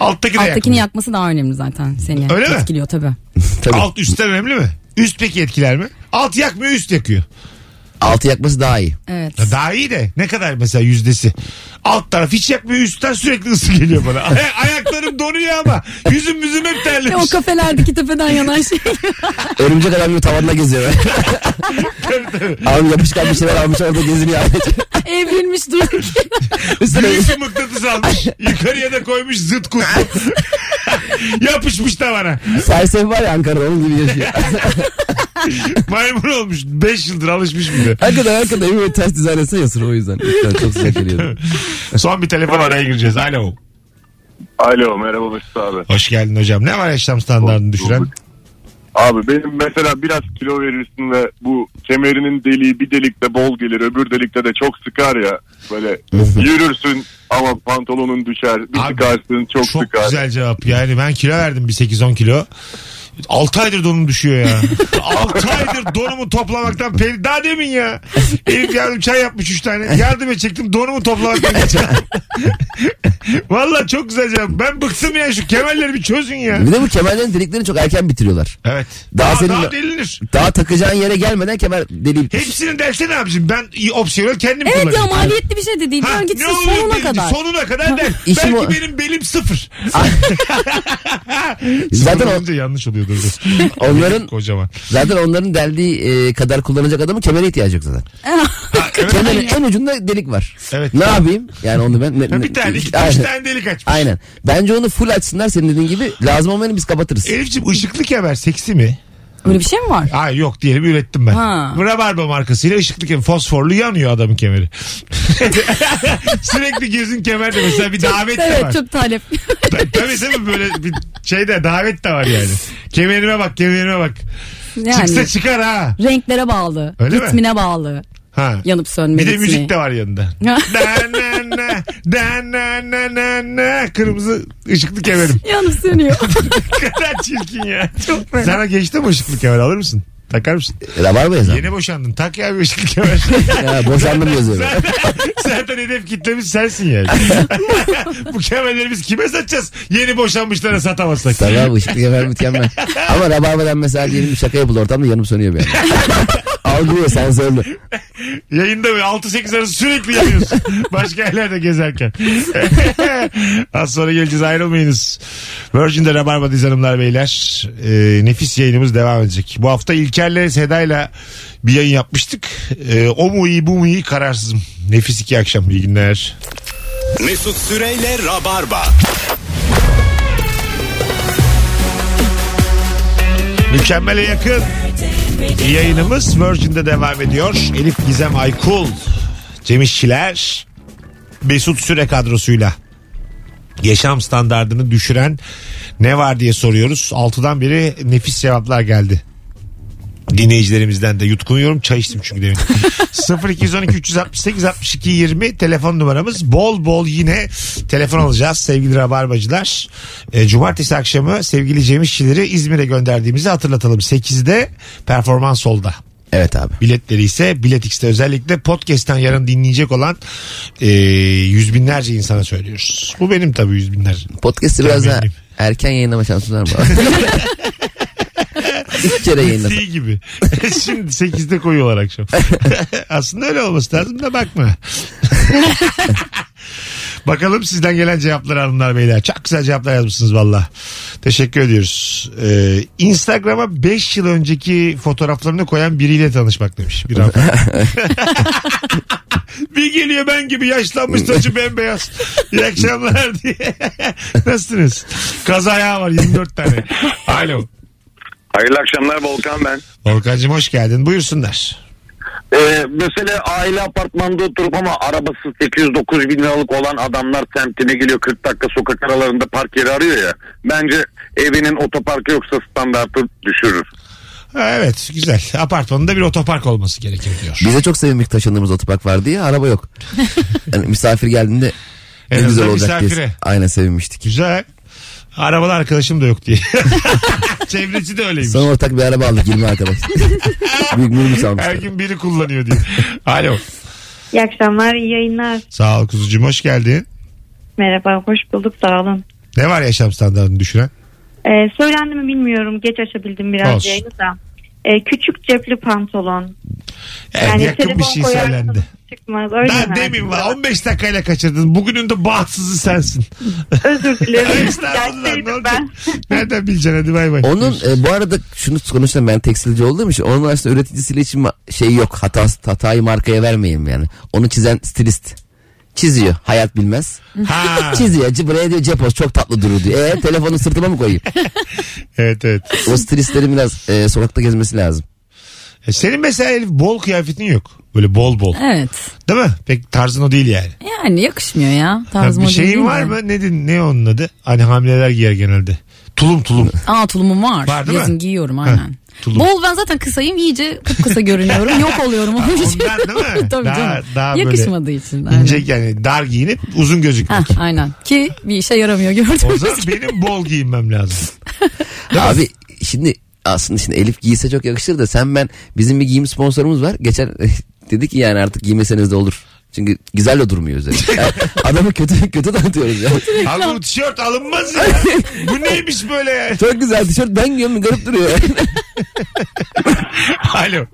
Speaker 3: Alttaki de
Speaker 4: Alttakini
Speaker 3: yakmıyor.
Speaker 4: yakması daha önemli zaten seni.
Speaker 3: Öyle mi?
Speaker 4: Etkiliyor tabii.
Speaker 5: Tabii.
Speaker 3: Alt üstten önemli mi? Üst peki etkiler mi? Alt yakmıyor üst yakıyor.
Speaker 5: Altı yakması daha iyi.
Speaker 4: Evet.
Speaker 3: Ya Daha iyi de ne kadar mesela yüzdesi? Alt taraf hiç yakmıyor üstten sürekli ısı geliyor bana. Ay- ayaklarım donuyor ama yüzüm yüzüm hep
Speaker 4: Ve o
Speaker 3: terlemiş.
Speaker 4: kafelerdeki tepeden yanan şey.
Speaker 5: Örümcek adam gibi tavanda geziyor. Abi yapışkan bir şeyler almış orada geziniyor.
Speaker 4: Evrilmiş durduk.
Speaker 5: Üstüne
Speaker 3: Büyük bir mıknatıs almış. Yukarıya da koymuş zıt kutlu. Yapışmış tavana.
Speaker 5: serseri var ya Ankara'da onun gibi yaşıyor.
Speaker 3: Maymun olmuş. 5 yıldır alışmış bir de.
Speaker 5: Hakikaten hakikaten evi böyle ters dizayn etsene ya sırf o yüzden. Üstten çok sıcak geliyor.
Speaker 3: Son bir telefon araya gireceğiz. Alo.
Speaker 8: Alo merhaba Mesut abi.
Speaker 3: Hoş geldin hocam. Ne var yaşam standartını düşüren?
Speaker 8: Abi benim mesela biraz kilo verirsin ve bu kemerinin deliği bir delikte bol gelir öbür delikte de çok sıkar ya. Böyle yürürsün ama pantolonun düşer bir
Speaker 3: Abi,
Speaker 8: sıkarsın çok,
Speaker 3: Çok
Speaker 8: sıkar.
Speaker 3: güzel cevap. Yani ben kilo verdim bir 8-10 kilo. 6 aydır donum düşüyor ya. 6 aydır donumu toplamaktan peri... Daha demin ya. Elif yardım çay yapmış 3 tane. Yardım çektim donumu toplamaktan geçen. Valla çok güzel cevap. Ben bıktım ya şu kemerleri bir çözün ya.
Speaker 5: Bir de bu kemerlerin deliklerini çok erken bitiriyorlar.
Speaker 3: Evet.
Speaker 5: Daha
Speaker 3: Daha, daha,
Speaker 5: seninle-
Speaker 3: delinir.
Speaker 5: Daha takacağın yere gelmeden kemer deliği bitmiş.
Speaker 3: Hepsini delsene abicim. Ben opsiyonel kendim
Speaker 4: evet ya
Speaker 3: kullanıyorum.
Speaker 4: maliyetli bir şey de değil.
Speaker 3: Ha,
Speaker 4: Dön gitsin
Speaker 3: olur
Speaker 4: sonuna
Speaker 3: benim-
Speaker 4: kadar.
Speaker 3: Sonuna kadar der.
Speaker 5: İşim
Speaker 3: Belki
Speaker 5: o-
Speaker 3: benim belim sıfır.
Speaker 5: Zaten
Speaker 3: Zaten
Speaker 5: o-
Speaker 3: olunca yanlış oluyor. Dur, dur.
Speaker 5: Onların
Speaker 3: Kocaman.
Speaker 5: zaten onların deldiği e, kadar kullanacak adamın kemere ihtiyacı yok zaten. Kemerin en ucunda delik var.
Speaker 3: Evet.
Speaker 5: Ne yapayım? Yani onu ben... ne-
Speaker 3: Ha,
Speaker 5: ne-
Speaker 3: bir tane, iki, üç
Speaker 5: Aynen.
Speaker 3: tane delik açmış.
Speaker 5: Aynen. Bence onu full açsınlar senin dediğin gibi. Lazım olmayanı biz kapatırız.
Speaker 3: Elif'ciğim ışıklı kemer seksi mi?
Speaker 4: Öyle bir şey mi var?
Speaker 3: Ay yok diyelim ürettim ben.
Speaker 4: Ha.
Speaker 3: Rabarba markasıyla ışıklı kemer. Fosforlu yanıyor adamın kemeri. Sürekli gözün kemerde mesela bir davet de var.
Speaker 4: Evet çok talep.
Speaker 3: Ta- Tabii tabii böyle bir şeyde davet de var yani. Kemerime bak kemerime bak. Çıksa
Speaker 4: yani
Speaker 3: çıkar ha.
Speaker 4: renklere bağlı.
Speaker 3: Öyle mi?
Speaker 4: ritmine bağlı.
Speaker 3: ha.
Speaker 4: Yanıp
Speaker 3: Bir
Speaker 4: sönme
Speaker 3: de
Speaker 4: ritmi.
Speaker 3: müzik de var yanında. da na na da na na na na kırmızı ışıklı kemerim.
Speaker 4: Yanıp sönüyor.
Speaker 3: Ne kadar çirkin ya. Sana geçti mi ışıklı kemer alır mısın? Takar mısın?
Speaker 5: Rabar mı yazan?
Speaker 3: Yeni boşandın. Tak ya bir ışıklı kemer.
Speaker 5: Ya, boşandım yazıyor.
Speaker 3: zaten, zaten hedef kitlemiz sensin yani. Bu kemerleri biz kime satacağız? Yeni boşanmışlara satamazsak.
Speaker 5: Tabii abi ışıklı kemer mükemmel. Ama rabarbadan mesela diyelim bir şaka yapıldı ortamda yanım sönüyor bir anda. Algılıyor sensörlü.
Speaker 3: Yayında böyle 6-8 arası sürekli yanıyorsun. Başka yerlerde gezerken. Az sonra geleceğiz ayrılmayınız. Virgin'de Rabarba'dayız hanımlar beyler. Ee, nefis yayınımız devam edecek. Bu hafta İlker'le Seda'yla bir yayın yapmıştık. Ee, o mu iyi bu mu iyi kararsızım. Nefis iki akşam. İyi günler.
Speaker 2: Mesut Süreyle Rabarba.
Speaker 3: Mükemmele yakın. Yayınımız Virgin'de devam ediyor. Elif Gizem Aykul, Cem İşçiler, Mesut Süre kadrosuyla. Yaşam standartını düşüren ne var diye soruyoruz. Altıdan beri nefis cevaplar geldi. Dinleyicilerimizden de yutkunuyorum. Çay içtim çünkü demin. 0212 368 62 20 telefon numaramız. Bol bol yine telefon alacağız sevgili rabarbacılar. E, cumartesi akşamı sevgili Cem İşçileri İzmir'e gönderdiğimizi hatırlatalım. 8'de performans olda.
Speaker 5: Evet abi.
Speaker 3: Biletleri ise Bilet X'te özellikle podcast'ten yarın dinleyecek olan e, yüz binlerce insana söylüyoruz. Bu benim tabii yüz binler.
Speaker 5: Podcast'ı biraz daha
Speaker 3: Benim.
Speaker 5: erken yayınlama şansı var mı? İki kere yayınlasın.
Speaker 3: Değil gibi. Şimdi 8'de koyuyorlar akşam. Aslında öyle olması lazım da bakma. Bakalım sizden gelen cevaplar hanımlar beyler. Çok güzel cevaplar yazmışsınız valla. Teşekkür ediyoruz. Ee, Instagram'a 5 yıl önceki fotoğraflarını koyan biriyle tanışmak demiş. Bir hanımefendi. bir geliyor ben gibi yaşlanmış saçı bembeyaz. İyi akşamlar diye. Nasılsınız? Kaza ayağı var 24 tane. Alo.
Speaker 8: Hayırlı akşamlar Volkan ben.
Speaker 3: Volkan'cığım hoş geldin. Buyursunlar.
Speaker 10: Ee, mesela aile apartmanda oturup ama arabası 800-900 bin liralık olan adamlar semtine geliyor 40 dakika sokak aralarında park yeri arıyor ya. Bence evinin otoparkı yoksa standartı düşürür.
Speaker 3: Ha, Evet güzel. Apartmanında bir otopark olması gerekir diyor.
Speaker 5: Bize çok sevimli taşındığımız otopark vardı ya araba yok. Yani misafir geldiğinde ne
Speaker 3: En
Speaker 5: güzel
Speaker 3: azından
Speaker 5: olacak diye.
Speaker 3: misafire.
Speaker 5: Aynen sevinmiştik.
Speaker 3: Güzel. Arabalı arkadaşım da yok diye. Çevreci de öyleymiş.
Speaker 5: Sonra ortak bir araba aldık 20 arkadaş. Büyük minibüs
Speaker 3: Her
Speaker 5: almışlar.
Speaker 3: gün biri kullanıyor diye. Alo.
Speaker 9: İyi akşamlar, iyi yayınlar.
Speaker 3: Sağ ol kuzucuğum hoş geldin.
Speaker 9: Merhaba, hoş bulduk, sağ olun.
Speaker 3: Ne var yaşam standartını düşüren?
Speaker 9: Ee, söylendi mi bilmiyorum, geç açabildim biraz
Speaker 3: Olsun.
Speaker 9: yayını da. Ee, küçük cepli pantolon,
Speaker 3: En yakın bir şey
Speaker 9: koyarsam
Speaker 3: söylendi.
Speaker 9: Çıkmaz. Öyle
Speaker 3: Daha
Speaker 9: herhalde.
Speaker 3: demin var 15 dakikayla kaçırdın. Bugünün de bahtsızı sensin.
Speaker 9: Özür dilerim.
Speaker 3: Estağfurullah ne
Speaker 9: Gerçekten
Speaker 3: olacak?
Speaker 9: ben.
Speaker 3: Nereden bileceksin hadi bay bay.
Speaker 5: Onun e, bu arada şunu konuşalım ben tekstilci olduğum için onun aslında üreticisiyle için ma- şey yok hatası hatayı markaya vermeyeyim yani. Onu çizen stilist. Çiziyor. Hayat bilmez.
Speaker 3: Ha.
Speaker 5: Çiziyor. C- Buraya diyor cepos çok tatlı durur diyor. Eee telefonu sırtıma mı koyayım?
Speaker 3: evet evet.
Speaker 5: O stilistlerin biraz e, sokakta gezmesi lazım.
Speaker 3: E, Senin mesela Elif bol kıyafetin yok. Böyle bol bol.
Speaker 4: Evet.
Speaker 3: Değil mi? Pek tarzın o değil yani.
Speaker 4: Yani yakışmıyor ya.
Speaker 3: Ha,
Speaker 4: Tarzıma
Speaker 3: bir
Speaker 4: değil
Speaker 3: şeyin
Speaker 4: de.
Speaker 3: var mı? Ne, dedin- ne onun adı? Hani hamileler giyer genelde. Tulum tulum.
Speaker 4: Aa tulumum var.
Speaker 3: Var değil mi?
Speaker 4: Yazın giyiyorum aynen.
Speaker 3: tulum.
Speaker 4: Bol ben zaten kısayım iyice kısa görünüyorum. Yok oluyorum. onun için.
Speaker 3: ondan değil mi?
Speaker 4: Tabii
Speaker 3: Daha-
Speaker 4: canım.
Speaker 3: daha böyle
Speaker 4: Yakışmadığı için. Aynen.
Speaker 3: İnce yani dar giyinip uzun gözükmek.
Speaker 4: Heh, aynen. Ki bir işe yaramıyor
Speaker 3: O
Speaker 4: gördüğünüz
Speaker 3: zaman benim bol giyinmem lazım.
Speaker 5: Abi şimdi aslında şimdi Elif giyse çok yakışır da sen ben bizim bir giyim sponsorumuz var. Geçen dedi ki yani artık giymeseniz de olur. Çünkü güzel de durmuyor üzerinde. Yani adamı kötü kötü tanıtıyoruz ya.
Speaker 3: Abi bu tişört alınmaz ya. bu neymiş böyle ya?
Speaker 5: Çok güzel tişört ben giyiyorum garip duruyor.
Speaker 3: Alo.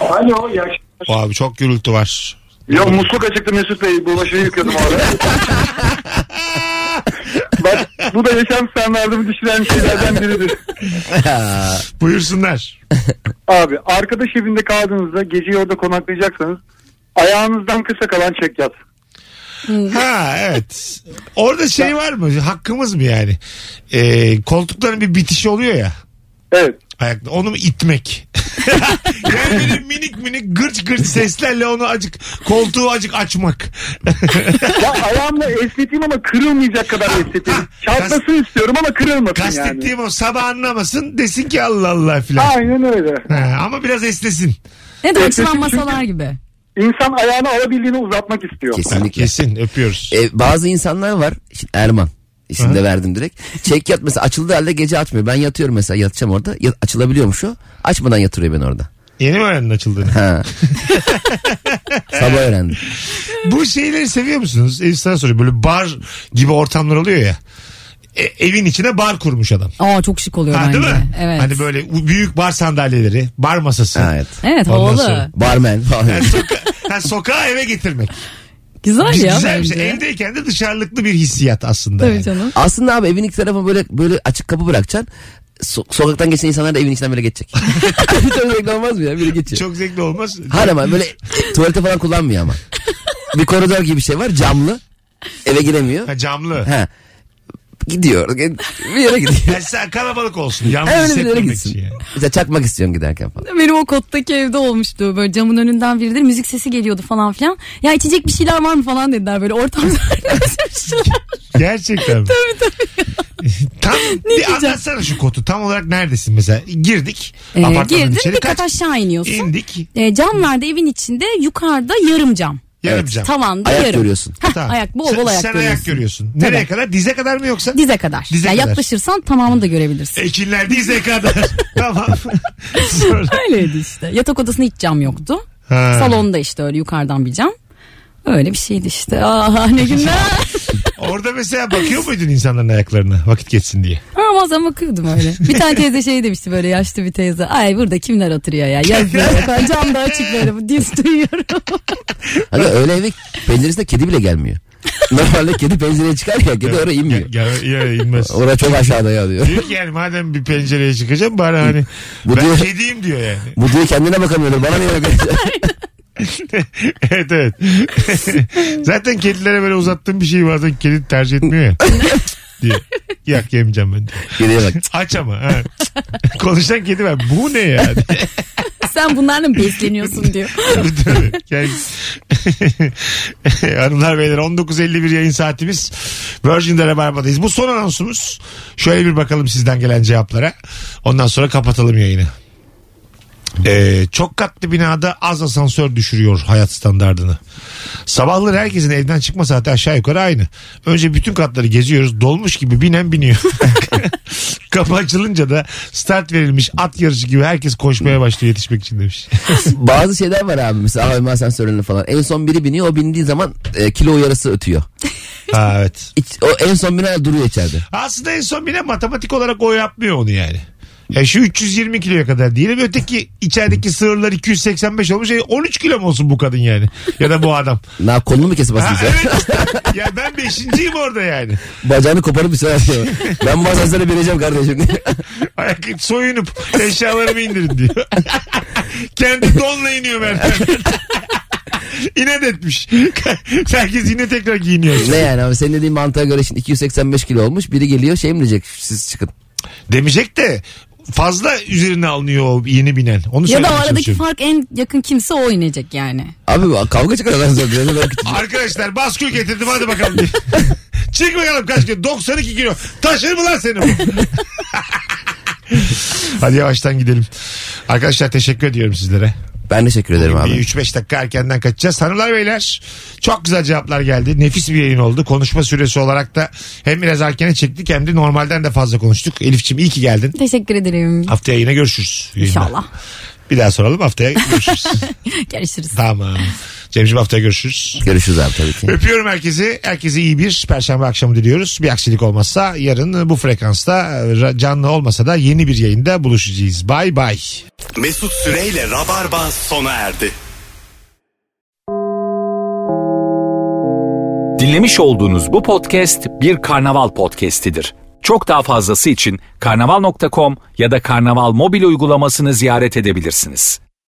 Speaker 8: Alo ya.
Speaker 3: O abi çok gürültü var.
Speaker 8: Ya musluk açıktı Mesut Bey. Bulaşığı yıkadım abi. Bak bu da yaşam standartımı düşüren şeylerden biridir.
Speaker 3: Buyursunlar.
Speaker 8: Abi arkadaş evinde kaldığınızda geceyi orada konaklayacaksanız ayağınızdan kısa kalan çek yat.
Speaker 3: Ha evet. Orada şey var mı? Hakkımız mı yani? Ee, koltukların bir bitişi oluyor ya.
Speaker 8: Evet.
Speaker 3: Ayakta. Onu mu itmek? yani böyle minik minik gırç gırç seslerle onu acık koltuğu acık açmak.
Speaker 8: Ya ayağımla esneteyim ama kırılmayacak kadar esneteyim. Çatlasın istiyorum ama kırılmasın yani.
Speaker 3: Kastettiğim o sabah anlamasın desin ki Allah Allah filan.
Speaker 8: Aynen öyle.
Speaker 3: Ha, Ama biraz esnesin.
Speaker 4: Ne de açılan masalar gibi.
Speaker 8: İnsan ayağını alabildiğini uzatmak istiyor.
Speaker 5: Kesinlikle.
Speaker 3: Kesin öpüyoruz.
Speaker 5: E, bazı insanlar var. Şimdi Erman. İsmini de verdim direkt. Çek yat mesela açıldı halde gece atmıyor. Ben yatıyorum mesela yatacağım orada. Ya, açılabiliyormuş o. Açmadan yatırıyor beni orada.
Speaker 3: Yeni mi öğrendin açıldığını?
Speaker 5: Ha. Sabah öğrendim.
Speaker 3: Bu şeyleri seviyor musunuz? Elif sana soruyor. Böyle bar gibi ortamlar oluyor ya. E, evin içine bar kurmuş adam.
Speaker 4: Aa çok şık oluyor
Speaker 3: Ha,
Speaker 4: bence.
Speaker 3: değil mi?
Speaker 4: Evet.
Speaker 3: Hani böyle u- büyük bar sandalyeleri, bar masası.
Speaker 5: Ha, evet.
Speaker 4: Evet
Speaker 3: Ondan
Speaker 4: havalı.
Speaker 3: sonra-
Speaker 5: Barmen falan.
Speaker 3: Yani soka- ha, sokağa eve getirmek.
Speaker 4: Güzel ya
Speaker 3: Güzel bir
Speaker 4: bence.
Speaker 3: şey. Evdeyken de dışarılıklı bir hissiyat aslında.
Speaker 4: Tabii
Speaker 3: yani.
Speaker 4: canım.
Speaker 5: Aslında abi evin iki tarafına böyle böyle açık kapı bırakacaksın. So- sokaktan geçen insanlar da evin içinden böyle geçecek. Çok zevkli olmaz mı ya? Biri geçiyor.
Speaker 3: Çok zevkli olmaz.
Speaker 5: Hayır ama böyle tuvalete falan kullanmıyor ama. Bir koridor gibi bir şey var camlı. Eve giremiyor.
Speaker 3: Ha, camlı.
Speaker 5: Ha. Gidiyor. Bir yere gidiyor.
Speaker 3: Yani sen kalabalık olsun. Yalnız
Speaker 5: Öyle bir yere
Speaker 3: hissetmemek
Speaker 5: gitsin.
Speaker 3: için. yani.
Speaker 5: Mesela çakmak istiyorum giderken falan.
Speaker 4: Benim o kottaki evde olmuştu. Böyle camın önünden biridir. Müzik sesi geliyordu falan filan. Ya içecek bir şeyler var mı falan dediler. Böyle ortamda serpiştiler.
Speaker 3: Gerçekten mi? tabii tabii. tam bir
Speaker 4: diyeceğim?
Speaker 3: anlatsana şu kotu. Tam olarak neredesin mesela? Girdik.
Speaker 4: Ee,
Speaker 3: apartmanın
Speaker 4: girdin
Speaker 3: içeri.
Speaker 4: bir
Speaker 3: Kaç
Speaker 4: kat aşağı iniyorsun.
Speaker 3: indik?
Speaker 4: Ee, cam vardı evin içinde. Yukarıda yarım cam.
Speaker 3: Yarım
Speaker 5: Evet,
Speaker 3: cam.
Speaker 4: Tavanda
Speaker 5: Ayak
Speaker 4: yarım.
Speaker 5: görüyorsun.
Speaker 4: Hah,
Speaker 3: Tamam.
Speaker 4: Ayak bol
Speaker 3: sen,
Speaker 4: bol ayak
Speaker 3: sen
Speaker 4: görüyorsun.
Speaker 3: ayak görüyorsun. Nereye kadar? Dize kadar mı yoksa?
Speaker 4: Dize kadar.
Speaker 3: Dize
Speaker 4: Ya
Speaker 3: kadar.
Speaker 4: yaklaşırsan tamamını da görebilirsin.
Speaker 3: Ekinler dize kadar. tamam. Sonra-
Speaker 4: Öyleydi işte. Yatak odasında hiç cam yoktu.
Speaker 3: Ha.
Speaker 4: Salonda işte öyle yukarıdan bir cam. Öyle bir şeydi işte. Aa ne günler.
Speaker 3: Orada mesela bakıyor muydun insanların ayaklarına vakit geçsin diye?
Speaker 4: Ama bazen bakıyordum öyle. Bir tane teyze şey demişti böyle yaşlı bir teyze. Ay burada kimler oturuyor ya? Yazmıyor. Ben camda açık böyle bu diye duyuyorum.
Speaker 5: Hani öyle eve penceresinde kedi bile gelmiyor. Normalde kedi pencereye çıkar ya kedi oraya inmiyor.
Speaker 3: Ya, ya, ya inmez.
Speaker 5: Oraya çok aşağıda ya diyor.
Speaker 3: diyor ki yani madem bir pencereye çıkacağım bari hani
Speaker 5: Bu
Speaker 3: ben
Speaker 5: diyor-
Speaker 3: kediyim diyor yani.
Speaker 5: Bu diyor kendine bakamıyordur bana niye bakıyor?
Speaker 3: evet evet. Zaten kedilere böyle uzattığım bir şey bazen kedi tercih etmiyor ya. diyor. Yak yemeyeceğim ben diyor.
Speaker 5: Kediye bak.
Speaker 3: Aç ama. Ha. Konuşan kedi var. Bu ne ya?
Speaker 4: Sen bunlarla mı besleniyorsun diyor.
Speaker 3: Tabii, tabii. Yani- Hanımlar beyler 19.51 yayın saatimiz. Virgin'de Rabarba'dayız. Bu son anonsumuz. Şöyle bir bakalım sizden gelen cevaplara. Ondan sonra kapatalım yayını. Ee, çok katlı binada az asansör düşürüyor hayat standartını. Sabahları herkesin evden çıkma saati aşağı yukarı aynı. Önce bütün katları geziyoruz. Dolmuş gibi binen biniyor. Kapı açılınca da start verilmiş at yarışı gibi herkes koşmaya başlıyor yetişmek için demiş.
Speaker 5: Bazı şeyler var abi mesela AVM asansörlerinde falan. En son biri biniyor o bindiği zaman e, kilo uyarısı ötüyor.
Speaker 3: ha, evet.
Speaker 5: İç- o en son binen duruyor içeride.
Speaker 3: Aslında en son bile matematik olarak o yapmıyor onu yani. Ya şu 320 kiloya kadar diyelim. Öteki içerideki sığırlar 285 olmuş. E, 13 kilo mu olsun bu kadın yani? Ya da bu adam.
Speaker 5: Ne yap, kolunu mu kesip
Speaker 3: Ha,
Speaker 5: asayım sana?
Speaker 3: evet işte. Ya ben beşinciyim orada yani.
Speaker 5: Bacağını koparıp bir şey yapıyor. Ben bu asansöre bineceğim kardeşim.
Speaker 3: Ayak soyunup eşyalarımı indirin diyor. Kendi donla iniyor merdiven. İnat etmiş. Herkes yine tekrar giyiniyor.
Speaker 5: ne yani abi senin dediğin mantığa göre şimdi 285 kilo olmuş. Biri geliyor şey mi diyecek siz çıkın.
Speaker 3: Demeyecek de fazla üzerine alınıyor o yeni binen. Onu
Speaker 4: Ya da o
Speaker 3: söylemeye
Speaker 4: aradaki
Speaker 3: çalışıyorum.
Speaker 4: fark en yakın kimse o inecek yani.
Speaker 5: Abi bu- kavga çıkar asansörde. Ne kadar küçük.
Speaker 3: Arkadaşlar baskül getirdim hadi bakalım diye. Çık bakalım kaç kilo? 92 kilo. Taşır mı lan seni bu? hadi yavaştan gidelim. Arkadaşlar teşekkür ediyorum sizlere.
Speaker 5: Ben teşekkür ederim
Speaker 3: Bir
Speaker 5: abi.
Speaker 3: 3-5 dakika erkenden kaçacağız. Hanımlar beyler çok güzel cevaplar geldi. Nefis bir yayın oldu. Konuşma süresi olarak da hem biraz erkene çektik hem de normalden de fazla konuştuk. Elif'ciğim iyi ki geldin.
Speaker 4: Teşekkür ederim.
Speaker 3: Haftaya yine görüşürüz. Yayında.
Speaker 4: İnşallah.
Speaker 3: Bir daha soralım haftaya görüşürüz.
Speaker 4: Görüşürüz.
Speaker 3: tamam. Cemciğim haftaya görüşürüz.
Speaker 5: Görüşürüz abi tabii ki.
Speaker 3: Öpüyorum herkesi. Herkese iyi bir perşembe akşamı diliyoruz. Bir aksilik olmazsa yarın bu frekansta e, ra- canlı olmasa da yeni bir yayında buluşacağız. Bay bay.
Speaker 2: Mesut Süreyle Rabarba sona erdi.
Speaker 1: Dinlemiş olduğunuz bu podcast bir karnaval podcastidir. Çok daha fazlası için karnaval.com ya da karnaval mobil uygulamasını ziyaret edebilirsiniz.